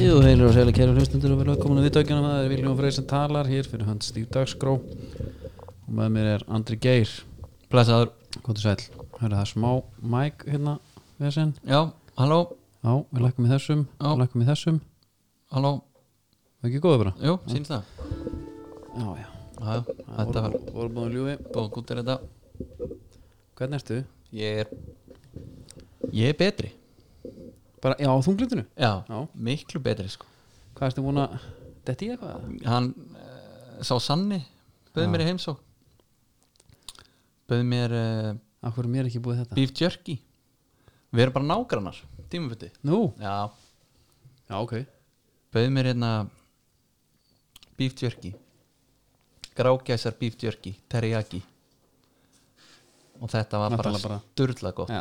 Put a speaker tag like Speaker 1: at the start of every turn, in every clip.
Speaker 1: Jú, heilir og sæli kæru hlustundur og vel velkominu viðtökjana það er Viljum Freyr sem talar hér fyrir hans stífdagsgró og með mér er Andri Geir
Speaker 2: Blessaður
Speaker 1: Kvotur sæl, hörðu það er smá mæk hérna við sinn
Speaker 2: Já, halló,
Speaker 1: Já, við lækum í þessum,
Speaker 2: Já.
Speaker 1: við lækum í þessum Það
Speaker 2: halló
Speaker 1: er ekki góður bara
Speaker 2: Jú, sínst það
Speaker 1: Já, já,
Speaker 2: Já, já, þetta var
Speaker 1: voru, voru búin að ljúfi
Speaker 2: búið gútt er þetta
Speaker 1: Hvernig ertu?
Speaker 2: Ég er Ég er betri
Speaker 1: Bara, já, á þunglindinu
Speaker 2: Já,
Speaker 1: Já.
Speaker 2: miklu betri sko
Speaker 1: Hvað erstu búin að, detti ég eitthvað?
Speaker 2: Hann uh, sá Sanni Böði mér í heimsók Böði mér uh,
Speaker 1: Akkur er mér ekki búið þetta?
Speaker 2: beef jerky Við erum bara nágrannar Tímafutti
Speaker 1: Nú,
Speaker 2: Já,
Speaker 1: já, ok
Speaker 2: böði mér hérna Beef jerky Grágæsar beef jerky Teriyaki Og þetta var bara,
Speaker 1: Náttúrulega bara-
Speaker 2: sturla gott
Speaker 1: Já,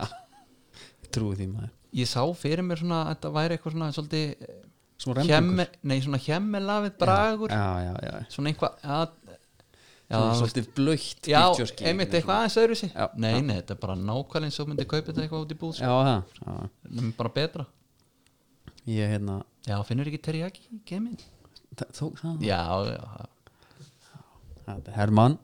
Speaker 1: ég trúi því maður
Speaker 2: ég sá fyrir mér svona að þetta væri eitthvað svona svolítið eh,
Speaker 1: Smá
Speaker 2: hjemme, nei, svona hjemmelafið bragur
Speaker 1: Já, já, já
Speaker 2: svona eitthvað að, já,
Speaker 1: Svona
Speaker 2: þú veist,
Speaker 1: Svolítið blöitt
Speaker 2: já einmitt eitthvað aðeins öðru sig
Speaker 1: Já.
Speaker 2: nei, nei, þetta er bara nákvæmlega eins og þú myndir kaupa þetta eitthvað út í búð sko.
Speaker 1: Já, það já.
Speaker 2: Nefnum bara betra
Speaker 1: Ég hérna
Speaker 2: já, finnur ekki teriyaki í gemin
Speaker 1: þa- Tók það
Speaker 2: já, já, það-
Speaker 1: Þetta er Hermann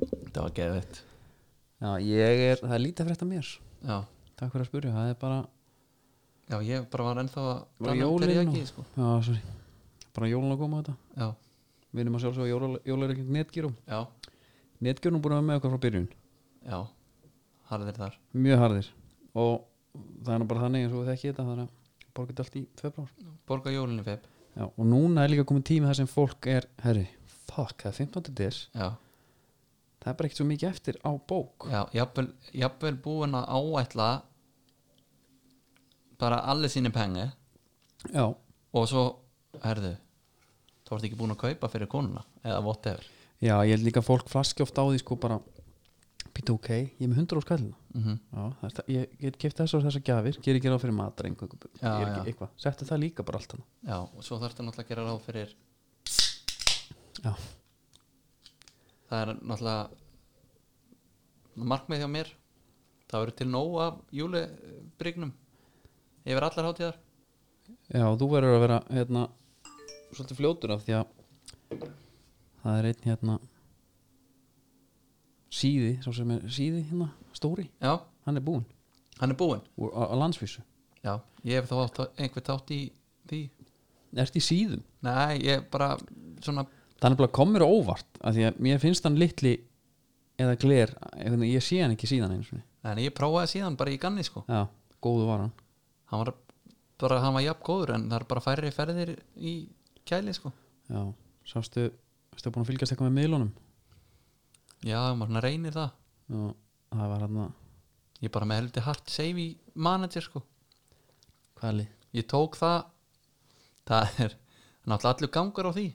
Speaker 2: þetta var geðveitt
Speaker 1: Já, ég er Það er lítið frétt af mér
Speaker 2: já,
Speaker 1: Takk fyrir að spyrja Það er bara
Speaker 2: já, ég bara var ennþá að
Speaker 1: Bara
Speaker 2: tala um
Speaker 1: jólin
Speaker 2: teriyaki
Speaker 1: og-
Speaker 2: sko.
Speaker 1: Já, sorry Bara jólin að koma þetta
Speaker 2: já,
Speaker 1: Við erum að sjálfsögja jólaregling netgýrum
Speaker 2: já,
Speaker 1: Netgýrum búin að vera með okkur frá byrjun
Speaker 2: já harðir þar
Speaker 1: Mjög harðir Og það er nú bara þannig eins og við þekki þetta Það er að borga þetta allt í februar
Speaker 2: borga jólinni feb
Speaker 1: Já, og núna er líka komið tími þar sem fólk er Herri, fuck, það er 15. des
Speaker 2: já,
Speaker 1: Það er bara ekkert svo mikið eftir á bók
Speaker 2: Já, jafnvel, jafnvel búin að áætla bara allir síni pengi
Speaker 1: Já,
Speaker 2: og svo, herðu þá ertu ekki búin að kaupa fyrir konuna eða whatever
Speaker 1: Já, ég held líka að fólk flaski oft á því sko bara Pítu ok, ég er með 100 á skallina
Speaker 2: mm
Speaker 1: hérna." Já, það er það, ég get keft þessar og þessar gjafir Ger ekki ráð fyrir matar einhver,
Speaker 2: Já,
Speaker 1: ég er ekki
Speaker 2: já.
Speaker 1: eitthvað Settu það líka bara allt hana
Speaker 2: Já, og svo þarftu náttúrulega að gera ráð fyrir
Speaker 1: Já,
Speaker 2: það er náttúrulega markmið hjá mér það eru til nóg af júlibryggnum yfir allar hátíðar
Speaker 1: já þú verður að vera hérna Svolítið fljótur af því að Það er einn hérna Síði, sá sem er síði hérna Stóri,
Speaker 2: Já,
Speaker 1: hann er búinn
Speaker 2: hann er búinn
Speaker 1: úr- á, á landsvísu
Speaker 2: Já, ég hef þá átt einhver tátt í því
Speaker 1: Ertu í síðum?
Speaker 2: Nei, ég bara svona
Speaker 1: Það er nefnilega komur á óvart af Því að mér finnst hann litli eða gler, einhvern veginn, ég sé hann ekki síðan einu sinni
Speaker 2: Nei, en ég prófaði síðan bara í ganni sko
Speaker 1: Já, góðu var hann
Speaker 2: hann var bara, hann var jafn góður en það er bara færri ferðir í kæli sko
Speaker 1: Já, sástu, erstu búin að fylgjast eitthvað með miðlunum
Speaker 2: já, maður svona reynir það
Speaker 1: Já, það var hann að
Speaker 2: ég er bara með helviti hart save í manager sko
Speaker 1: Hvaða lið?
Speaker 2: ég tók það það er náttúrulega allur gangur á því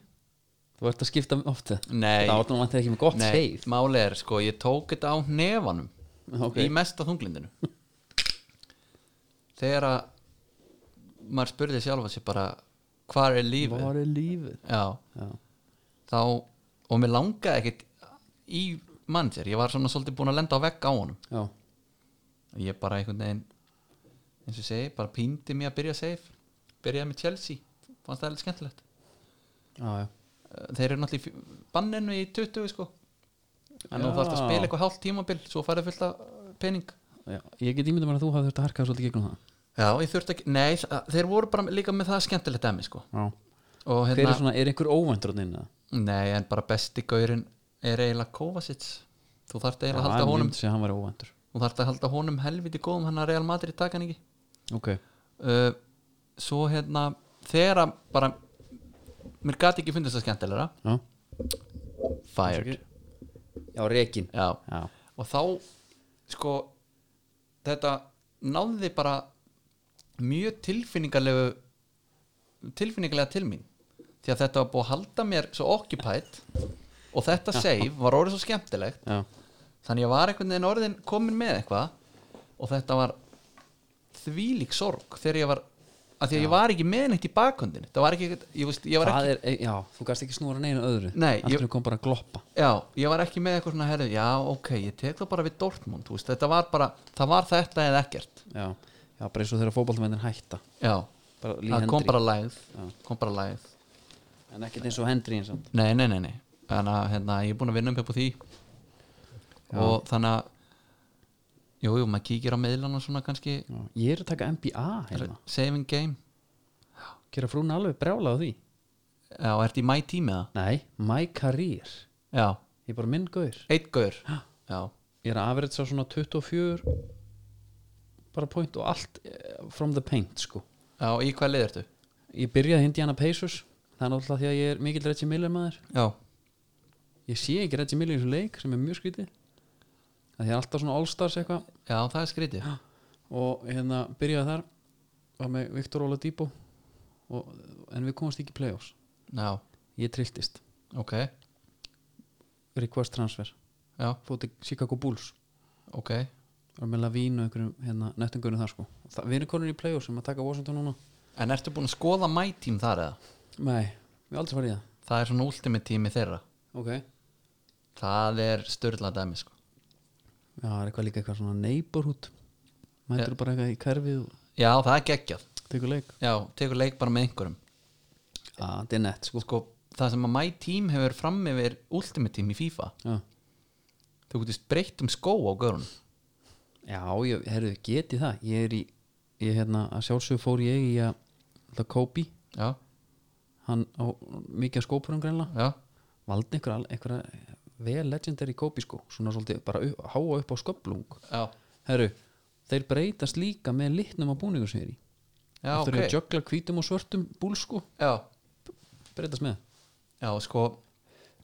Speaker 1: Þú ert að skipta ofta
Speaker 2: nei,
Speaker 1: Það var nú vantið ekki með gott
Speaker 2: nei
Speaker 1: save
Speaker 2: máli er sko ég tók þetta á nefanum
Speaker 1: Ok,
Speaker 2: í mesta þunglindinu þegar að maður spurði sjálfa sér bara hvar er lífið
Speaker 1: var er lífið?
Speaker 2: já
Speaker 1: Já,
Speaker 2: þá, og mér langaði ekkit í manager, ég var svona svolítið búin að lenda á vegg á honum
Speaker 1: já,
Speaker 2: ég bara einhvern veginn eins og ég segi, bara píndi mér að byrja safe byrjaði með Chelsea, fannst það alveg skemmtilegt
Speaker 1: já, já.
Speaker 2: Eh, þeir eru náttúrulega í fj- banninu í 20 sko en nú
Speaker 1: Já.
Speaker 2: þarf að spila eitthvað hálft tímabil svo farið fullt af pening
Speaker 1: já Ég get ímyndum að þú hafði þurft að harka svolítið gegnum það
Speaker 2: já, ég þurfti ekki, nei, þa- þeir voru bara líka með það skemmtilegt emmi sko
Speaker 1: Já
Speaker 2: og
Speaker 1: Hver er
Speaker 2: hérna,
Speaker 1: svona, er einhver óvendruninn?
Speaker 2: nei, en bara besti gaurin er eiginlega Kovacic þú þarft eiginlega að halda
Speaker 1: hann
Speaker 2: honum
Speaker 1: myndi sig að hann var óvendur
Speaker 2: og þarf að halda honum helviti góðum hann að Real Madrid taka hann ekki
Speaker 1: Ok,
Speaker 2: uh, svo hérna þegar að bara mér gati ekki fundist það skemmtilegra
Speaker 1: já
Speaker 2: fired
Speaker 1: Já, rekin
Speaker 2: já.
Speaker 1: Já,
Speaker 2: og þá sko þetta náði bara mjög tilfinningarlegu tilfinningarlega til mín því að þetta var búið að halda mér svo occupied og þetta save var orðið svo skemmtilegt
Speaker 1: já,
Speaker 2: þannig ég var einhvern veginn orðin komin með eitthvað og þetta var þvílík sorg þegar ég var að því að ég var ekki með neitt í bakhundin það var ekki, ég veist, ég var
Speaker 1: það
Speaker 2: ekki
Speaker 1: er, eh, já, þú gast ekki snúra neina öðru
Speaker 2: Nei,
Speaker 1: Allt
Speaker 2: ég-
Speaker 1: ég... kom bara að gloppa
Speaker 2: já, ég var ekki með eitthvað svona herri, já, ok, ég tek það bara við Dortmund þú veist, þetta var bara, það var þetta eða ekkert
Speaker 1: Já, já, bara eins og þegar fótballtamennin hætta
Speaker 2: já,
Speaker 1: bara Lee
Speaker 2: það kom
Speaker 1: Hendry
Speaker 2: bara lægð
Speaker 1: Já.
Speaker 2: kom bara lægð
Speaker 1: en ekkert eins og Hendry eins og
Speaker 2: Nei, nei, nei, nei Þannig að hérna, ég er búin að vinna um upp á því og þannig að jú, jú, maður kíkir á meðlan og svona kannski
Speaker 1: ég er að taka NBA hérna
Speaker 2: saving game
Speaker 1: gera frún alveg brjála á því
Speaker 2: Já, ertu í my team eða?
Speaker 1: nei, my career
Speaker 2: Já,
Speaker 1: ég er bara minn gaur
Speaker 2: eitt gaur Já,
Speaker 1: ég er að afrætsa svona 24 bara point og allt eh, from the paint sko
Speaker 2: Já í hvað leið ertu?
Speaker 1: ég byrjaði Indiana Pacers það er náttúrulega því að ég er mikill Reggie Miller maður
Speaker 2: Já,
Speaker 1: ég sé ekki Reggie Miller í þessum leik sem er mjög skrítið að því er alltaf svona all-stars eitthvað
Speaker 2: já, það er skrítið
Speaker 1: og hérna byrjaði þar var með Viktor Óla Dýbo en við komumst ekki í playoffs
Speaker 2: Já,
Speaker 1: ég trilltist,
Speaker 2: ok
Speaker 1: request transfer
Speaker 2: Já,
Speaker 1: fótið Chicago Bulls
Speaker 2: ok
Speaker 1: var með Lavín og einhverjum hérna, nettingunum þar sko það, við erum konin í playoffs sem að taka Washington núna
Speaker 2: En ertu búin að skoða my team þar eða?
Speaker 1: nei, við aldrei farið í það
Speaker 2: Það er svona ultimate teami þeirra
Speaker 1: ok, já,
Speaker 2: Það er störla dæmi sko
Speaker 1: það er eitthvað líka eitthvað svona neighborhood mætur bara eitthvað í kerfið og
Speaker 2: Já, það er geggjað
Speaker 1: tekur leik
Speaker 2: Já, tekur leik bara með einhverjum
Speaker 1: að þetta er nett sko
Speaker 2: sko, það sem að my team hefur fram yfir ultimate team í FIFA
Speaker 1: já,
Speaker 2: þú getist breytt um skó á görun
Speaker 1: já ég, herru, geti það ég er í, ég hérna að sjálfsög fór ég í að það Kobe,
Speaker 2: já,
Speaker 1: hann á mikið af skópurum greinlega,
Speaker 2: já,
Speaker 1: valdi einhver, al- einhverja vel legendary Kobe sko, svona svolítið bara upp, háa upp á sköplung
Speaker 2: já,
Speaker 1: herru, þeir breytast líka með litnum á búningu sem ég er í
Speaker 2: já
Speaker 1: þeir
Speaker 2: ok
Speaker 1: eru að jökla hvítum og svörtum búl sko,
Speaker 2: já,
Speaker 1: breytast með
Speaker 2: já, sko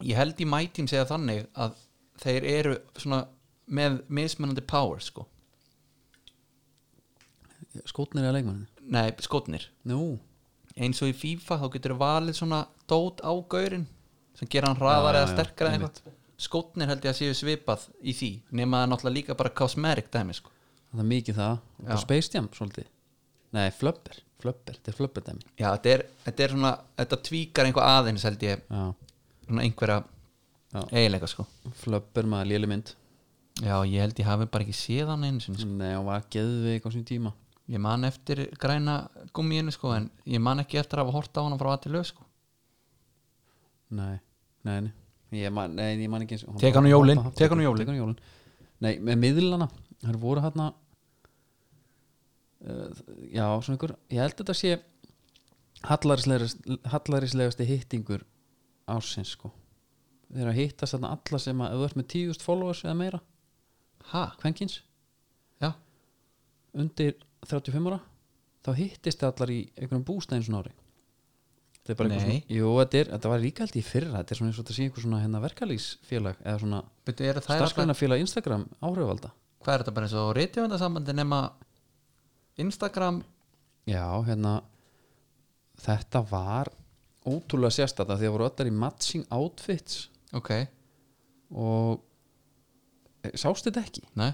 Speaker 2: ég held í my team segja þannig að þeir eru svona með mismunandi power sko
Speaker 1: skótnir eða leikmannin
Speaker 2: nei, skotnir,
Speaker 1: nú,
Speaker 2: eins og í FIFA þá getur valið svona dót á gaurin sem gera hann
Speaker 1: Já,
Speaker 2: hraðar
Speaker 1: já,
Speaker 2: eða
Speaker 1: já,
Speaker 2: sterkar eða
Speaker 1: einmitt.
Speaker 2: eitthvað skotnir held ég að séu svipað í því nema það er náttúrulega líka bara cosmetic dæmi sko
Speaker 1: það er mikið það og
Speaker 2: Já.
Speaker 1: bara Space Jam svolítið nei, flöpper, flöpper, þetta er flöpper dæmi
Speaker 2: já, þetta er, þetta er svona, þetta tvíkar einhver aðeins held ég
Speaker 1: já,
Speaker 2: svona einhverja
Speaker 1: Já.
Speaker 2: eiginleika sko
Speaker 1: flöpper maður léli mynd
Speaker 2: já ég held ég hafi bara ekki séð hann einu sinni sko.
Speaker 1: nei, hún var geðveik á sín tíma
Speaker 2: ég man eftir græna gummiðinu sko en ég man ekki eftir að hafa hort á hann frá að til lög sko
Speaker 1: nei, nei, nei Ég man, nei, ég man ekki eins-
Speaker 2: Tek hann á jólin,
Speaker 1: Hoppa, hoppa,
Speaker 2: tek hann á jólin.
Speaker 1: tek hann á jólin Nei, með miðlana Það voru hérna uh, Já, svona ykkur Ég held að þetta sé hallarislegast- hallarislegasti hittingur ársins sko Þeir eru að hittast þarna alla sem að ef þú ert með tíðust followers eða meira
Speaker 2: ha,
Speaker 1: kvenkins
Speaker 2: já,
Speaker 1: undir 35 ára þá hittist þið allar í einhverjum bústæðin svona ári þetta er bara eitthvað
Speaker 2: Nei.
Speaker 1: svona jú, þetta, er, þetta var líka held í fyrra þetta er svona eins og þetta sé einhver svona hérna verkalýsfélag eða svona
Speaker 2: betur eru það alltaf,
Speaker 1: starfsgreinafélag Instagram áhrifalda
Speaker 2: hvað er þetta bara eins og rítjöfundasambandi nema Instagram
Speaker 1: já, hérna þetta var ótrúlega sérstætt af því að voru allar í matching outfits
Speaker 2: ok,
Speaker 1: og Eh, sástu þetta ekki?
Speaker 2: nei,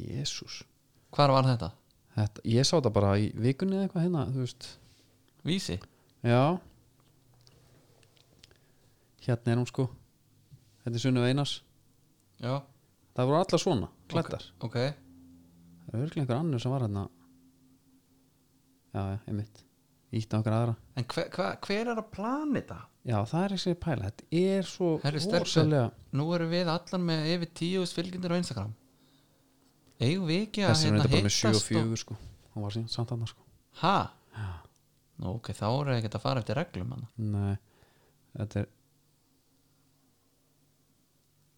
Speaker 1: Jésús
Speaker 2: hvar var þetta
Speaker 1: Ég sá þetta bara í vikunni eða eitthvað hérna þú veist
Speaker 2: vísi,
Speaker 1: Já Hérna er hún sko Þetta er Sunnu Einars
Speaker 2: já,
Speaker 1: Það voru allar svona, klættar
Speaker 2: ok
Speaker 1: Það er örgulega einhver annur sem var hérna Já, já, einmitt Ítt á okkur aðra
Speaker 2: en hver, hver, hver er að plana þetta
Speaker 1: Já, það er ekki pæla, þetta er svo
Speaker 2: Herri, stelpur.
Speaker 1: rosalega-
Speaker 2: nú erum við allan með yfir tíu fylgjendur á Instagram eigum við ekki að
Speaker 1: Þessi er
Speaker 2: hérna,
Speaker 1: þetta bara með 7 og
Speaker 2: hittast og-
Speaker 1: 4 sko Hún var síðan samt annars sko
Speaker 2: Ha?
Speaker 1: Já.
Speaker 2: Nú, ok, þá eru það ekkert að fara eftir reglum hann.
Speaker 1: Nei, þetta er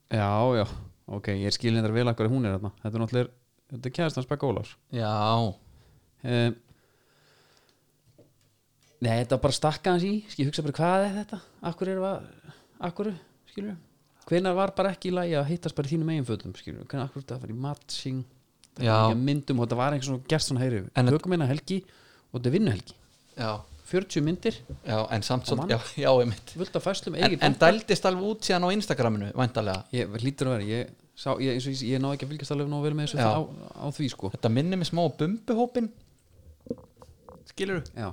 Speaker 1: Já, já, ok, ég er skilin þetta vel akkur hún er hérna Þetta er náttúrulega, þetta er kæðast hans Begga Ólafs
Speaker 2: Já,
Speaker 1: um, Nei, þetta bara stakka hans í Ski, ég hugsa bara hvað er þetta Akkur er það, akkur, skilur Hvenær var bara ekki í lagi að hittast bara í þínum eigin fötum, skilur Hvenær akkur þetta var í matching þetta var
Speaker 2: Já.
Speaker 1: ekki að myndum og þetta var einhvers svona gerst svona heyri
Speaker 2: En
Speaker 1: en Tökum eina helgi og þetta er vinnuhelgi
Speaker 2: já,
Speaker 1: 40 myndir,
Speaker 2: já, en samt
Speaker 1: Og
Speaker 2: svolítið,
Speaker 1: mann.
Speaker 2: já, já, ég mitt.
Speaker 1: völda fæslum
Speaker 2: En,
Speaker 1: eigin
Speaker 2: en dældist alveg út síðan á Instagraminu, væntalega.
Speaker 1: Ég hlýtur að vera, ég sá, ég, eins og ég, ég ná ekki að fylgjast alveg nóg vel með þessu
Speaker 2: Já.
Speaker 1: á, á því, sko
Speaker 2: Þetta minnir mig smá á bumbuhópin. Skilur þú?
Speaker 1: Já,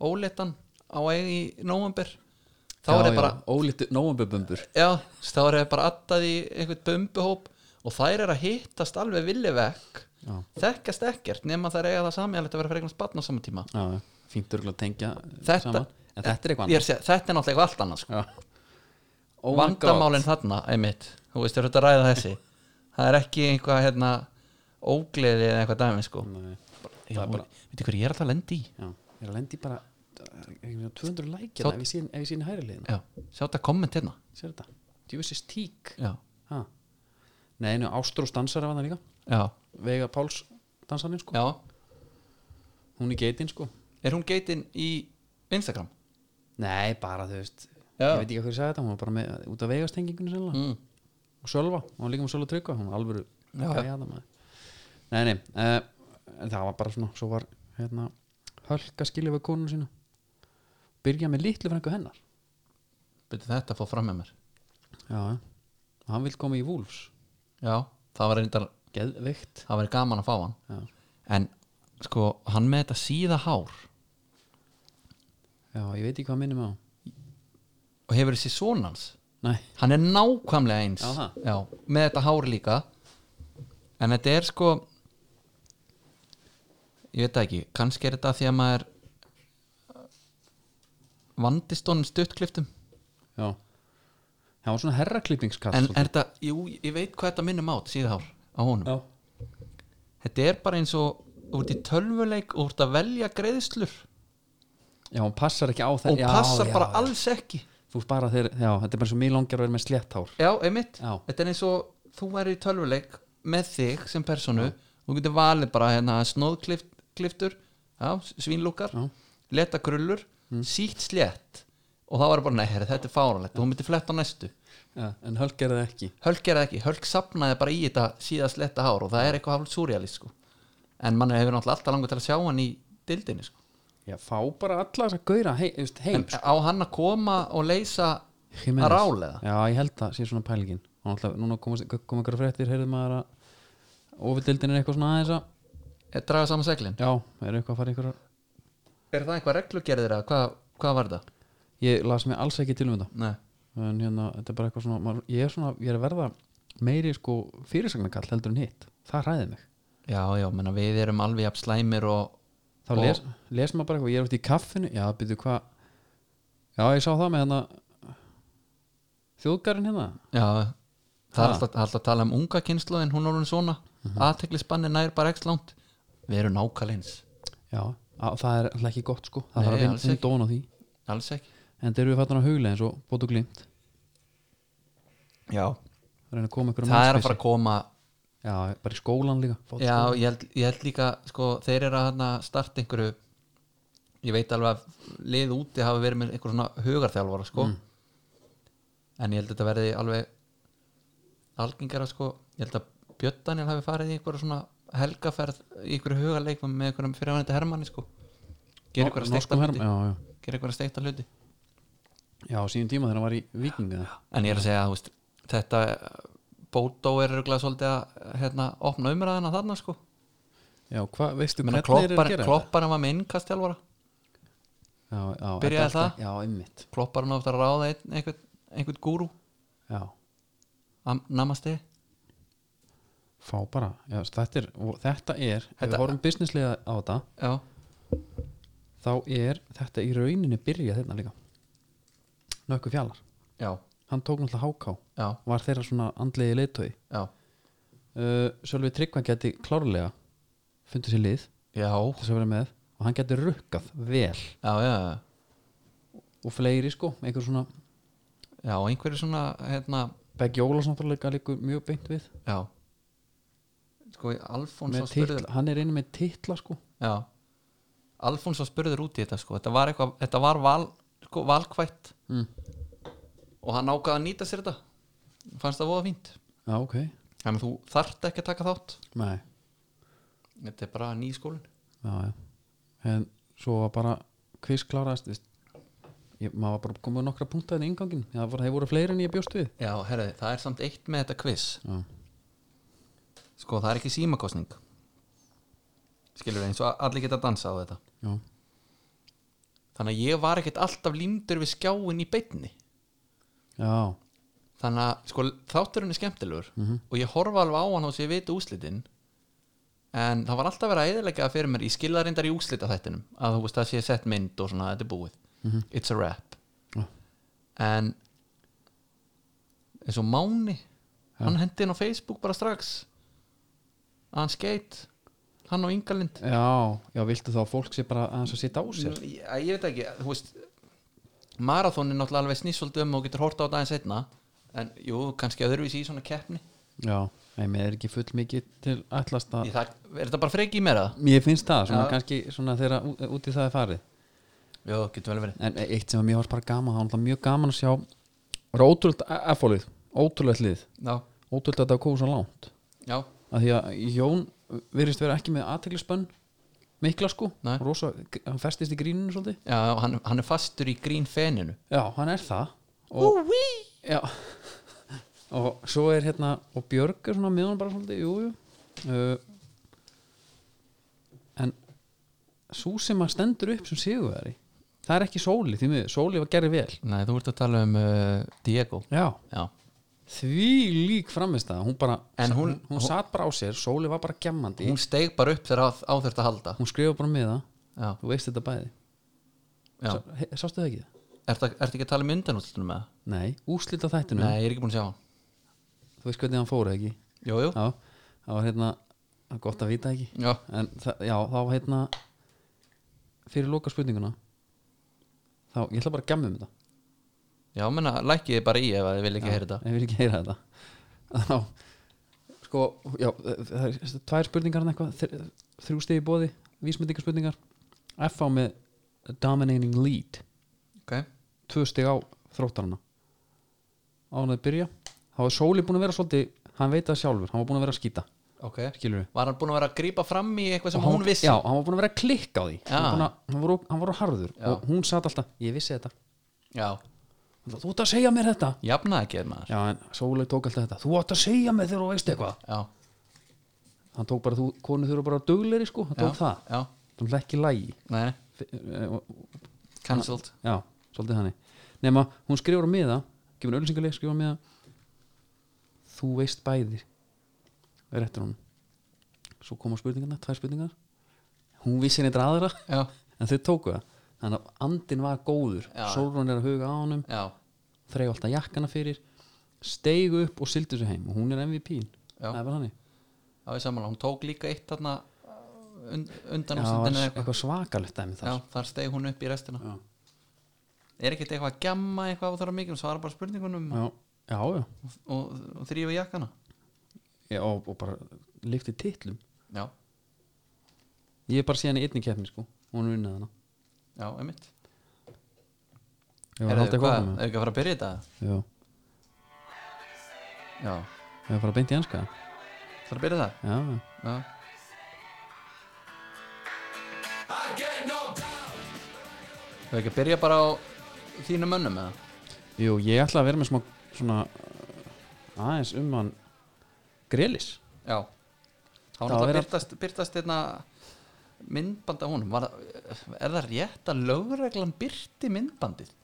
Speaker 2: Óletan á eigi í nóvember. Þá
Speaker 1: já,
Speaker 2: er
Speaker 1: já,
Speaker 2: það bara,
Speaker 1: Ólítu, nóambubumbur
Speaker 2: já, þá er það bara attað í einhvern bumbuhóp og þær er að hittast alveg villi vekk.
Speaker 1: Já,
Speaker 2: Þekkast ekkert nema þær eiga það samjálegt að vera fyrir einhvern spann á sama tíma.
Speaker 1: já, já fínt örgulega að tengja eh,
Speaker 2: Þetta-
Speaker 1: saman en þetta er eitthvað
Speaker 2: Ég er að segja, þetta er náttúrulega eitthvað allt annað sko.
Speaker 1: annað. Já. Oh my God.
Speaker 2: vandamálin þarna, einmitt þú veist, þú ert að ræða þessi það er ekki einhvað hérna ógleði eða eitthvað dæmi sko.
Speaker 1: Nei,
Speaker 2: Já,
Speaker 1: það er bara
Speaker 2: veitu hvað ég er alltaf að lendi í
Speaker 1: já, ég er að lendi bara eh, 200 lækja
Speaker 2: Þótt-
Speaker 1: ef ég sín, ef ég sín hægri liðin
Speaker 2: já, sjá þetta komment hérna
Speaker 1: sér þetta, djúvissis tík
Speaker 2: já,
Speaker 1: ha. nei, nú Ástrós dansar af hann líka
Speaker 2: já,
Speaker 1: Veiga Páls dansarinn sko
Speaker 2: já
Speaker 1: hún er geitinn sko
Speaker 2: er hún geitin í Instagram?
Speaker 1: nei, bara þú veist
Speaker 2: Já.
Speaker 1: ég veit ekki hvað ég sagði þetta, hún var bara með út af veigastengingunni sennilega
Speaker 2: Mm.
Speaker 1: og Sölva, hún var líka með Sölva Tryggva hún var alvöru
Speaker 2: Já, já.
Speaker 1: gæja þarna, maður. nei, nei, uh, það var bara svona svo var hérna hölka skilja við konun sína byrja með litlu frængu hennar
Speaker 2: Byrju, þetta fór fram með mér
Speaker 1: já, já. og hann vil koma í Wolves
Speaker 2: já, það var reyndar
Speaker 1: geðveikt
Speaker 2: það væri gaman að fá hann
Speaker 1: já,
Speaker 2: en sko, hann með þetta síða hár
Speaker 1: já, ég veit ekki hvað minnum á
Speaker 2: og hefur þessi sonans
Speaker 1: nei,
Speaker 2: hann er nákvæmlega eins
Speaker 1: Já, það.
Speaker 2: með þetta hár líka en þetta er sko ég veit það ekki kannski er þetta því að maður uh, vandist honum stuttkliftum
Speaker 1: já það var svona herraklippingskall
Speaker 2: en er þetta, jú, ég veit hvað þetta minnum át síðhár á honum
Speaker 1: já,
Speaker 2: þetta er bara eins og úr í tölvuleik og úr að velja greiðslur
Speaker 1: já, hún passar ekki á það
Speaker 2: og
Speaker 1: já,
Speaker 2: passar
Speaker 1: já,
Speaker 2: bara
Speaker 1: já.
Speaker 2: alls ekki
Speaker 1: þú veist bara þeir, já, þetta er bara svo mjög langar að vera með slétt hár
Speaker 2: já, einmitt,
Speaker 1: Já.
Speaker 2: þetta er eins og þú væri í tölvuleik með þig sem personu þú getur valið bara hérna snóðkliftur já, Mm. svínlúkar,
Speaker 1: Já.
Speaker 2: leta krullur sítt slétt og það var bara, nei, herri, þetta er fáranlegt og hún myndi fletta á næstu
Speaker 1: já, en hölk er það ekki
Speaker 2: Hölk gerði það ekki, Hölk sapnaði bara í þetta síðast letta hár og það er eitthvað hálf súrjalist sko. en mann hefur náttúrulega alltaf langur til að sjá hann í dildinni sko.
Speaker 1: já, fá bara alla þess að gauðra heim, þú veist, heim
Speaker 2: en á hann að koma og leysa
Speaker 1: Jimenez.
Speaker 2: að rálega
Speaker 1: Já, ég held það sé svona pælingin og alltaf, núna komast- kom kom einhverja fréttir heyrðu maður að ofildildin er eitthvað svona aðeins að
Speaker 2: eh, draga saman seglin
Speaker 1: já, er eitthvað að fara einhverja
Speaker 2: er það eitthvað reglugerðir að hvað, hvað var það?
Speaker 1: ég las mér alls ekki til um þetta
Speaker 2: Nei.
Speaker 1: en hérna, þetta er bara eitthvað svona maður, ég er svona, ég er að verða meiri sko fyrirsagnakall heldur en hitt, það ræði mig
Speaker 2: Já, já, menna við erum alveg jafn slæmir og
Speaker 1: þá
Speaker 2: Og-
Speaker 1: les, les maður bara eitthvað, ég er út í kaffinu já, byrju hvað já, ég sá það með hérna þjóðgarinn hérna
Speaker 2: já, það er
Speaker 1: Ha.
Speaker 2: alltaf, það er alltaf að tala um unga kynsluðin, hún er hún svona
Speaker 1: Mhm.
Speaker 2: mm -hmm. nær bara ekki langt við erum nákvæmleins,
Speaker 1: já, á, það er alltaf ekki gott sko það
Speaker 2: Nei,
Speaker 1: þarf að
Speaker 2: alls
Speaker 1: vinna
Speaker 2: ekki.
Speaker 1: dón á því
Speaker 2: alls ekki
Speaker 1: en þeir eru fattan að huglega eins og bótu glimt
Speaker 2: Já,
Speaker 1: reyna að koma ykkur
Speaker 2: það er að fara að koma
Speaker 1: já, bara í skólan líka fót,
Speaker 2: Já, ég held, ég held líka sko, þeir eru að þarna starta einhverju ég veit alveg að lið úti hafa verið með einhver svona hugarþjálfara sko.
Speaker 1: Mm.
Speaker 2: en ég held að þetta verði alveg algengara sko. ég held að Björn Daniel hafi farið í einhverju svona helgaferð í einhverju hugarleikum með einhverjum fyrirvændi hermanni sko. gera
Speaker 1: Nó-
Speaker 2: einhverja
Speaker 1: norskum
Speaker 2: steikta
Speaker 1: herm-
Speaker 2: hluti
Speaker 1: já, já.
Speaker 2: gera einhverja steikta hluti
Speaker 1: já, á sínum tíma þegar hann var í vikinga
Speaker 2: en ég er að segja þú veist, þetta Bótó er röglega svolítið að hérna, opna umræðina þarna sko.
Speaker 1: já, hvað, veistu
Speaker 2: Ég meina,
Speaker 1: hvernig þeir eru að
Speaker 2: kloppar,
Speaker 1: gera
Speaker 2: kloppar var með innkastjálfara
Speaker 1: þetta? já, já, þetta
Speaker 2: Byrjaði
Speaker 1: er
Speaker 2: það?
Speaker 1: alltaf- já, einmitt
Speaker 2: kloppar hann ofta að ráða einn, einhvern, einhvern gúrú
Speaker 1: já,
Speaker 2: Am- namaste
Speaker 1: fá bara, já, þetta er og þetta er, ef
Speaker 2: Þetta-
Speaker 1: við horfum businesslega á þetta
Speaker 2: já,
Speaker 1: þá er þetta í rauninni byrja þetta líka Nökku Fjallar,
Speaker 2: já,
Speaker 1: hann tók náttúrulega háká
Speaker 2: já,
Speaker 1: var þeirra svona andlegi leitói
Speaker 2: já,
Speaker 1: uh, Sölvi Tryggvan geti klárlega fundið sér lið
Speaker 2: já
Speaker 1: til þess að vera með og hann geti rukkað vel
Speaker 2: já, já, já,
Speaker 1: og fleiri sko, einhver svona
Speaker 2: já einhverju svona hérna,
Speaker 1: Beggi Ólafs náttúrulega líka mjög beint við
Speaker 2: já sko, Alfons
Speaker 1: með
Speaker 2: á spurður
Speaker 1: titla, hann er inni með titla sko
Speaker 2: já, Alfons á spurður út í þetta sko, þetta var eitthvað, þetta var val, sko, valkvætt
Speaker 1: Mm.
Speaker 2: og hann ákvaði að nýta sér þetta fannst það voða fínt
Speaker 1: já ok,
Speaker 2: þannig að þú þarft ekki að taka þátt
Speaker 1: nei
Speaker 2: þetta er bara ný skólin
Speaker 1: já, já. en svo var bara quiz kláraðist veist, ég, maður var bara komið nokkra punkta í ingangin, það voru, þeir voru fleiri en ég bjóst við
Speaker 2: já, herri, það er samt eitt með þetta quiz
Speaker 1: já,
Speaker 2: sko það er ekki símakostning skilur eins og allir geta dansað á þetta
Speaker 1: já,
Speaker 2: þannig að ég var ekkert alltaf límdur við skjáin í beinni
Speaker 1: já,
Speaker 2: þannig að sko þátturinn er skemmtilegur
Speaker 1: Mhm.
Speaker 2: og ég horfa alveg á hann og sé viti úslitin en það var alltaf verið að eðilega fyrir mér ég skilða reyndar í úslita þættinum að þú veist það sé sett mynd og svona þetta er búið it's a wrap
Speaker 1: Já.
Speaker 2: en eins og Máni hann hendi inn á Facebook bara strax að hann skeit hann og Ingalind
Speaker 1: Já, já, viltu þá að fólk sé bara aðeins að sitja á sér
Speaker 2: ég, Mm, ég veit ekki, þú veist marathón er náttúrulega alveg snýsvöldu um og getur horta á daginn setna en jú, kannski öðruvísi í svona keppni
Speaker 1: Já, nei, mér er ekki full mikið til allast að
Speaker 2: Í það, er þetta bara freki í mér að?
Speaker 1: Mér finnst það, svona
Speaker 2: Já.
Speaker 1: kannski svona þegar ú- út í það er farið
Speaker 2: Jó, getur vel verið
Speaker 1: En eitt sem mér varst bara gaman, það var náttúrulega mjög gaman að sjá Það var ótrúlega F-fólið, ótrúlega lið
Speaker 2: Já,
Speaker 1: Ótrúlega þetta að kóða svo langt
Speaker 2: já,
Speaker 1: að Því að Jón virðist vera ekki með aðteglisbönn mikla sko
Speaker 2: Nei.
Speaker 1: Rosa, hann festist í gríninu svolítið
Speaker 2: já hann, hann er fastur í grín feninu
Speaker 1: Já, hann er það og, Úví Já Og svo er hérna Og Björg er svona með hann bara svolítið Jú, jú uh, En Sú sem að stendur upp sem sigurveri Það er ekki Sóli því miður Sóli var gerði vel
Speaker 2: Nei, þú ert að tala um uh, Diego
Speaker 1: Já
Speaker 2: Já,
Speaker 1: Því lík framist það Hún bara
Speaker 2: En hún-
Speaker 1: hún, hún satt bara á sér Sóli var bara gemmandi
Speaker 2: hún
Speaker 1: Hún,
Speaker 2: steig bara upp þegar á, á þurft að halda
Speaker 1: hún skrifa bara með það
Speaker 2: Já,
Speaker 1: Þú veist þetta bæði
Speaker 2: já
Speaker 1: Sá, he, Sástu það ekki?
Speaker 2: Ertu ertu ekki að tala um undanúslutunum með það?
Speaker 1: Nei, úslita þættinu
Speaker 2: Nei, ég er ekki búin að sjá hann
Speaker 1: Þú veist hvernig hann fór eða ekki
Speaker 2: Jú, jú,
Speaker 1: Já, það var hérna það er Gott að vita ekki
Speaker 2: já,
Speaker 1: en það, já, þá hérna fyrir loka spurninguna þá, ég ætla bara að gemma um þetta
Speaker 2: já, menna, lækið þið bara í ef að þið vil ekki heyra þetta
Speaker 1: ég vil ekki heyra þetta þá, sko, já það er tvær spurningar en eitthvað þr- þrjú stegi bóði, vísmyndingarspurningar F á með dominating lead
Speaker 2: Ok,
Speaker 1: tvö steg á þróttarana á hann að byrja þá er Sóli búin að vera svolítið, hann veit það sjálfur hann var búin að vera að skýta,
Speaker 2: ok
Speaker 1: skilur
Speaker 2: Var hann búin að vera að grípa fram í eitthvað sem
Speaker 1: Og
Speaker 2: hún vissi?
Speaker 1: já, hann var búin að vera að klikka á því
Speaker 2: Já.
Speaker 1: hann, var búinn að, hann, var, hann var á harður
Speaker 2: Já.
Speaker 1: og hún satt alltaf, ég vissi þetta
Speaker 2: já.
Speaker 1: þú ert að segja mér þetta
Speaker 2: Jafnaði ekki maður
Speaker 1: já, en Sóleg tók alltaf þetta, þú ert að segja mér þegar þú veist eitthvað
Speaker 2: Já,
Speaker 1: hann tók bara, þú, konu þurfa bara dugleiri sko hann
Speaker 2: já,
Speaker 1: tók það,
Speaker 2: já,
Speaker 1: þannig ekki lægi
Speaker 2: nei, nei, cancelled
Speaker 1: eh, já, svolítið þannig nema, hún skrifur á miða, gefur ölsingarleik skrifur á miða þú veist bæðir er eftir hún svo koma spurningarna, tvær spurningar hún vissi neitt aðra
Speaker 2: Já,
Speaker 1: en þau tóku það þannig að andin var góður
Speaker 2: Já.
Speaker 1: Sólrún er að huga á honum
Speaker 2: já,
Speaker 1: þreif alltaf jakkana fyrir steigu upp og sildu sig heim og hún er MVP-in
Speaker 2: Já.
Speaker 1: það er bara hannig
Speaker 2: já, ég samanlega, hún tók líka eitt þarna uh, und,
Speaker 1: Já, það var
Speaker 2: undan úrslitinu eða eitthvað.
Speaker 1: eitthvað svakalegt dæmi
Speaker 2: Já,
Speaker 1: þar
Speaker 2: þar steig hún upp í restina
Speaker 1: Já.
Speaker 2: Er ekkert eitthvað að gemma eitthvað á þar að mikið og svara bara spurningunum
Speaker 1: já, já, já.
Speaker 2: og, og, og þrýfa jakkana
Speaker 1: já og, og bara lyfti titlum
Speaker 2: Já,
Speaker 1: ég er bara síðan í einni keppni sko og hún unnið hana
Speaker 2: já, einmitt
Speaker 1: ég var haldið
Speaker 2: hvað,
Speaker 1: eitthvað
Speaker 2: er ekki að fara að byrja þetta?
Speaker 1: já, ég
Speaker 2: Já,
Speaker 1: var bara beint í enska
Speaker 2: þarf að byrja það?
Speaker 1: já, já.
Speaker 2: Já Það er ekki að byrja bara á þínum mönnum eða?
Speaker 1: jú, ég ætla að vera með smá svona uh, aðeins um hann Grelis
Speaker 2: Já Þá
Speaker 1: Það var
Speaker 2: er þetta
Speaker 1: verið að-
Speaker 2: byrtast, byrtast hérna myndband af honum Var, það- Er það rétt að lögreglan byrti myndbandið?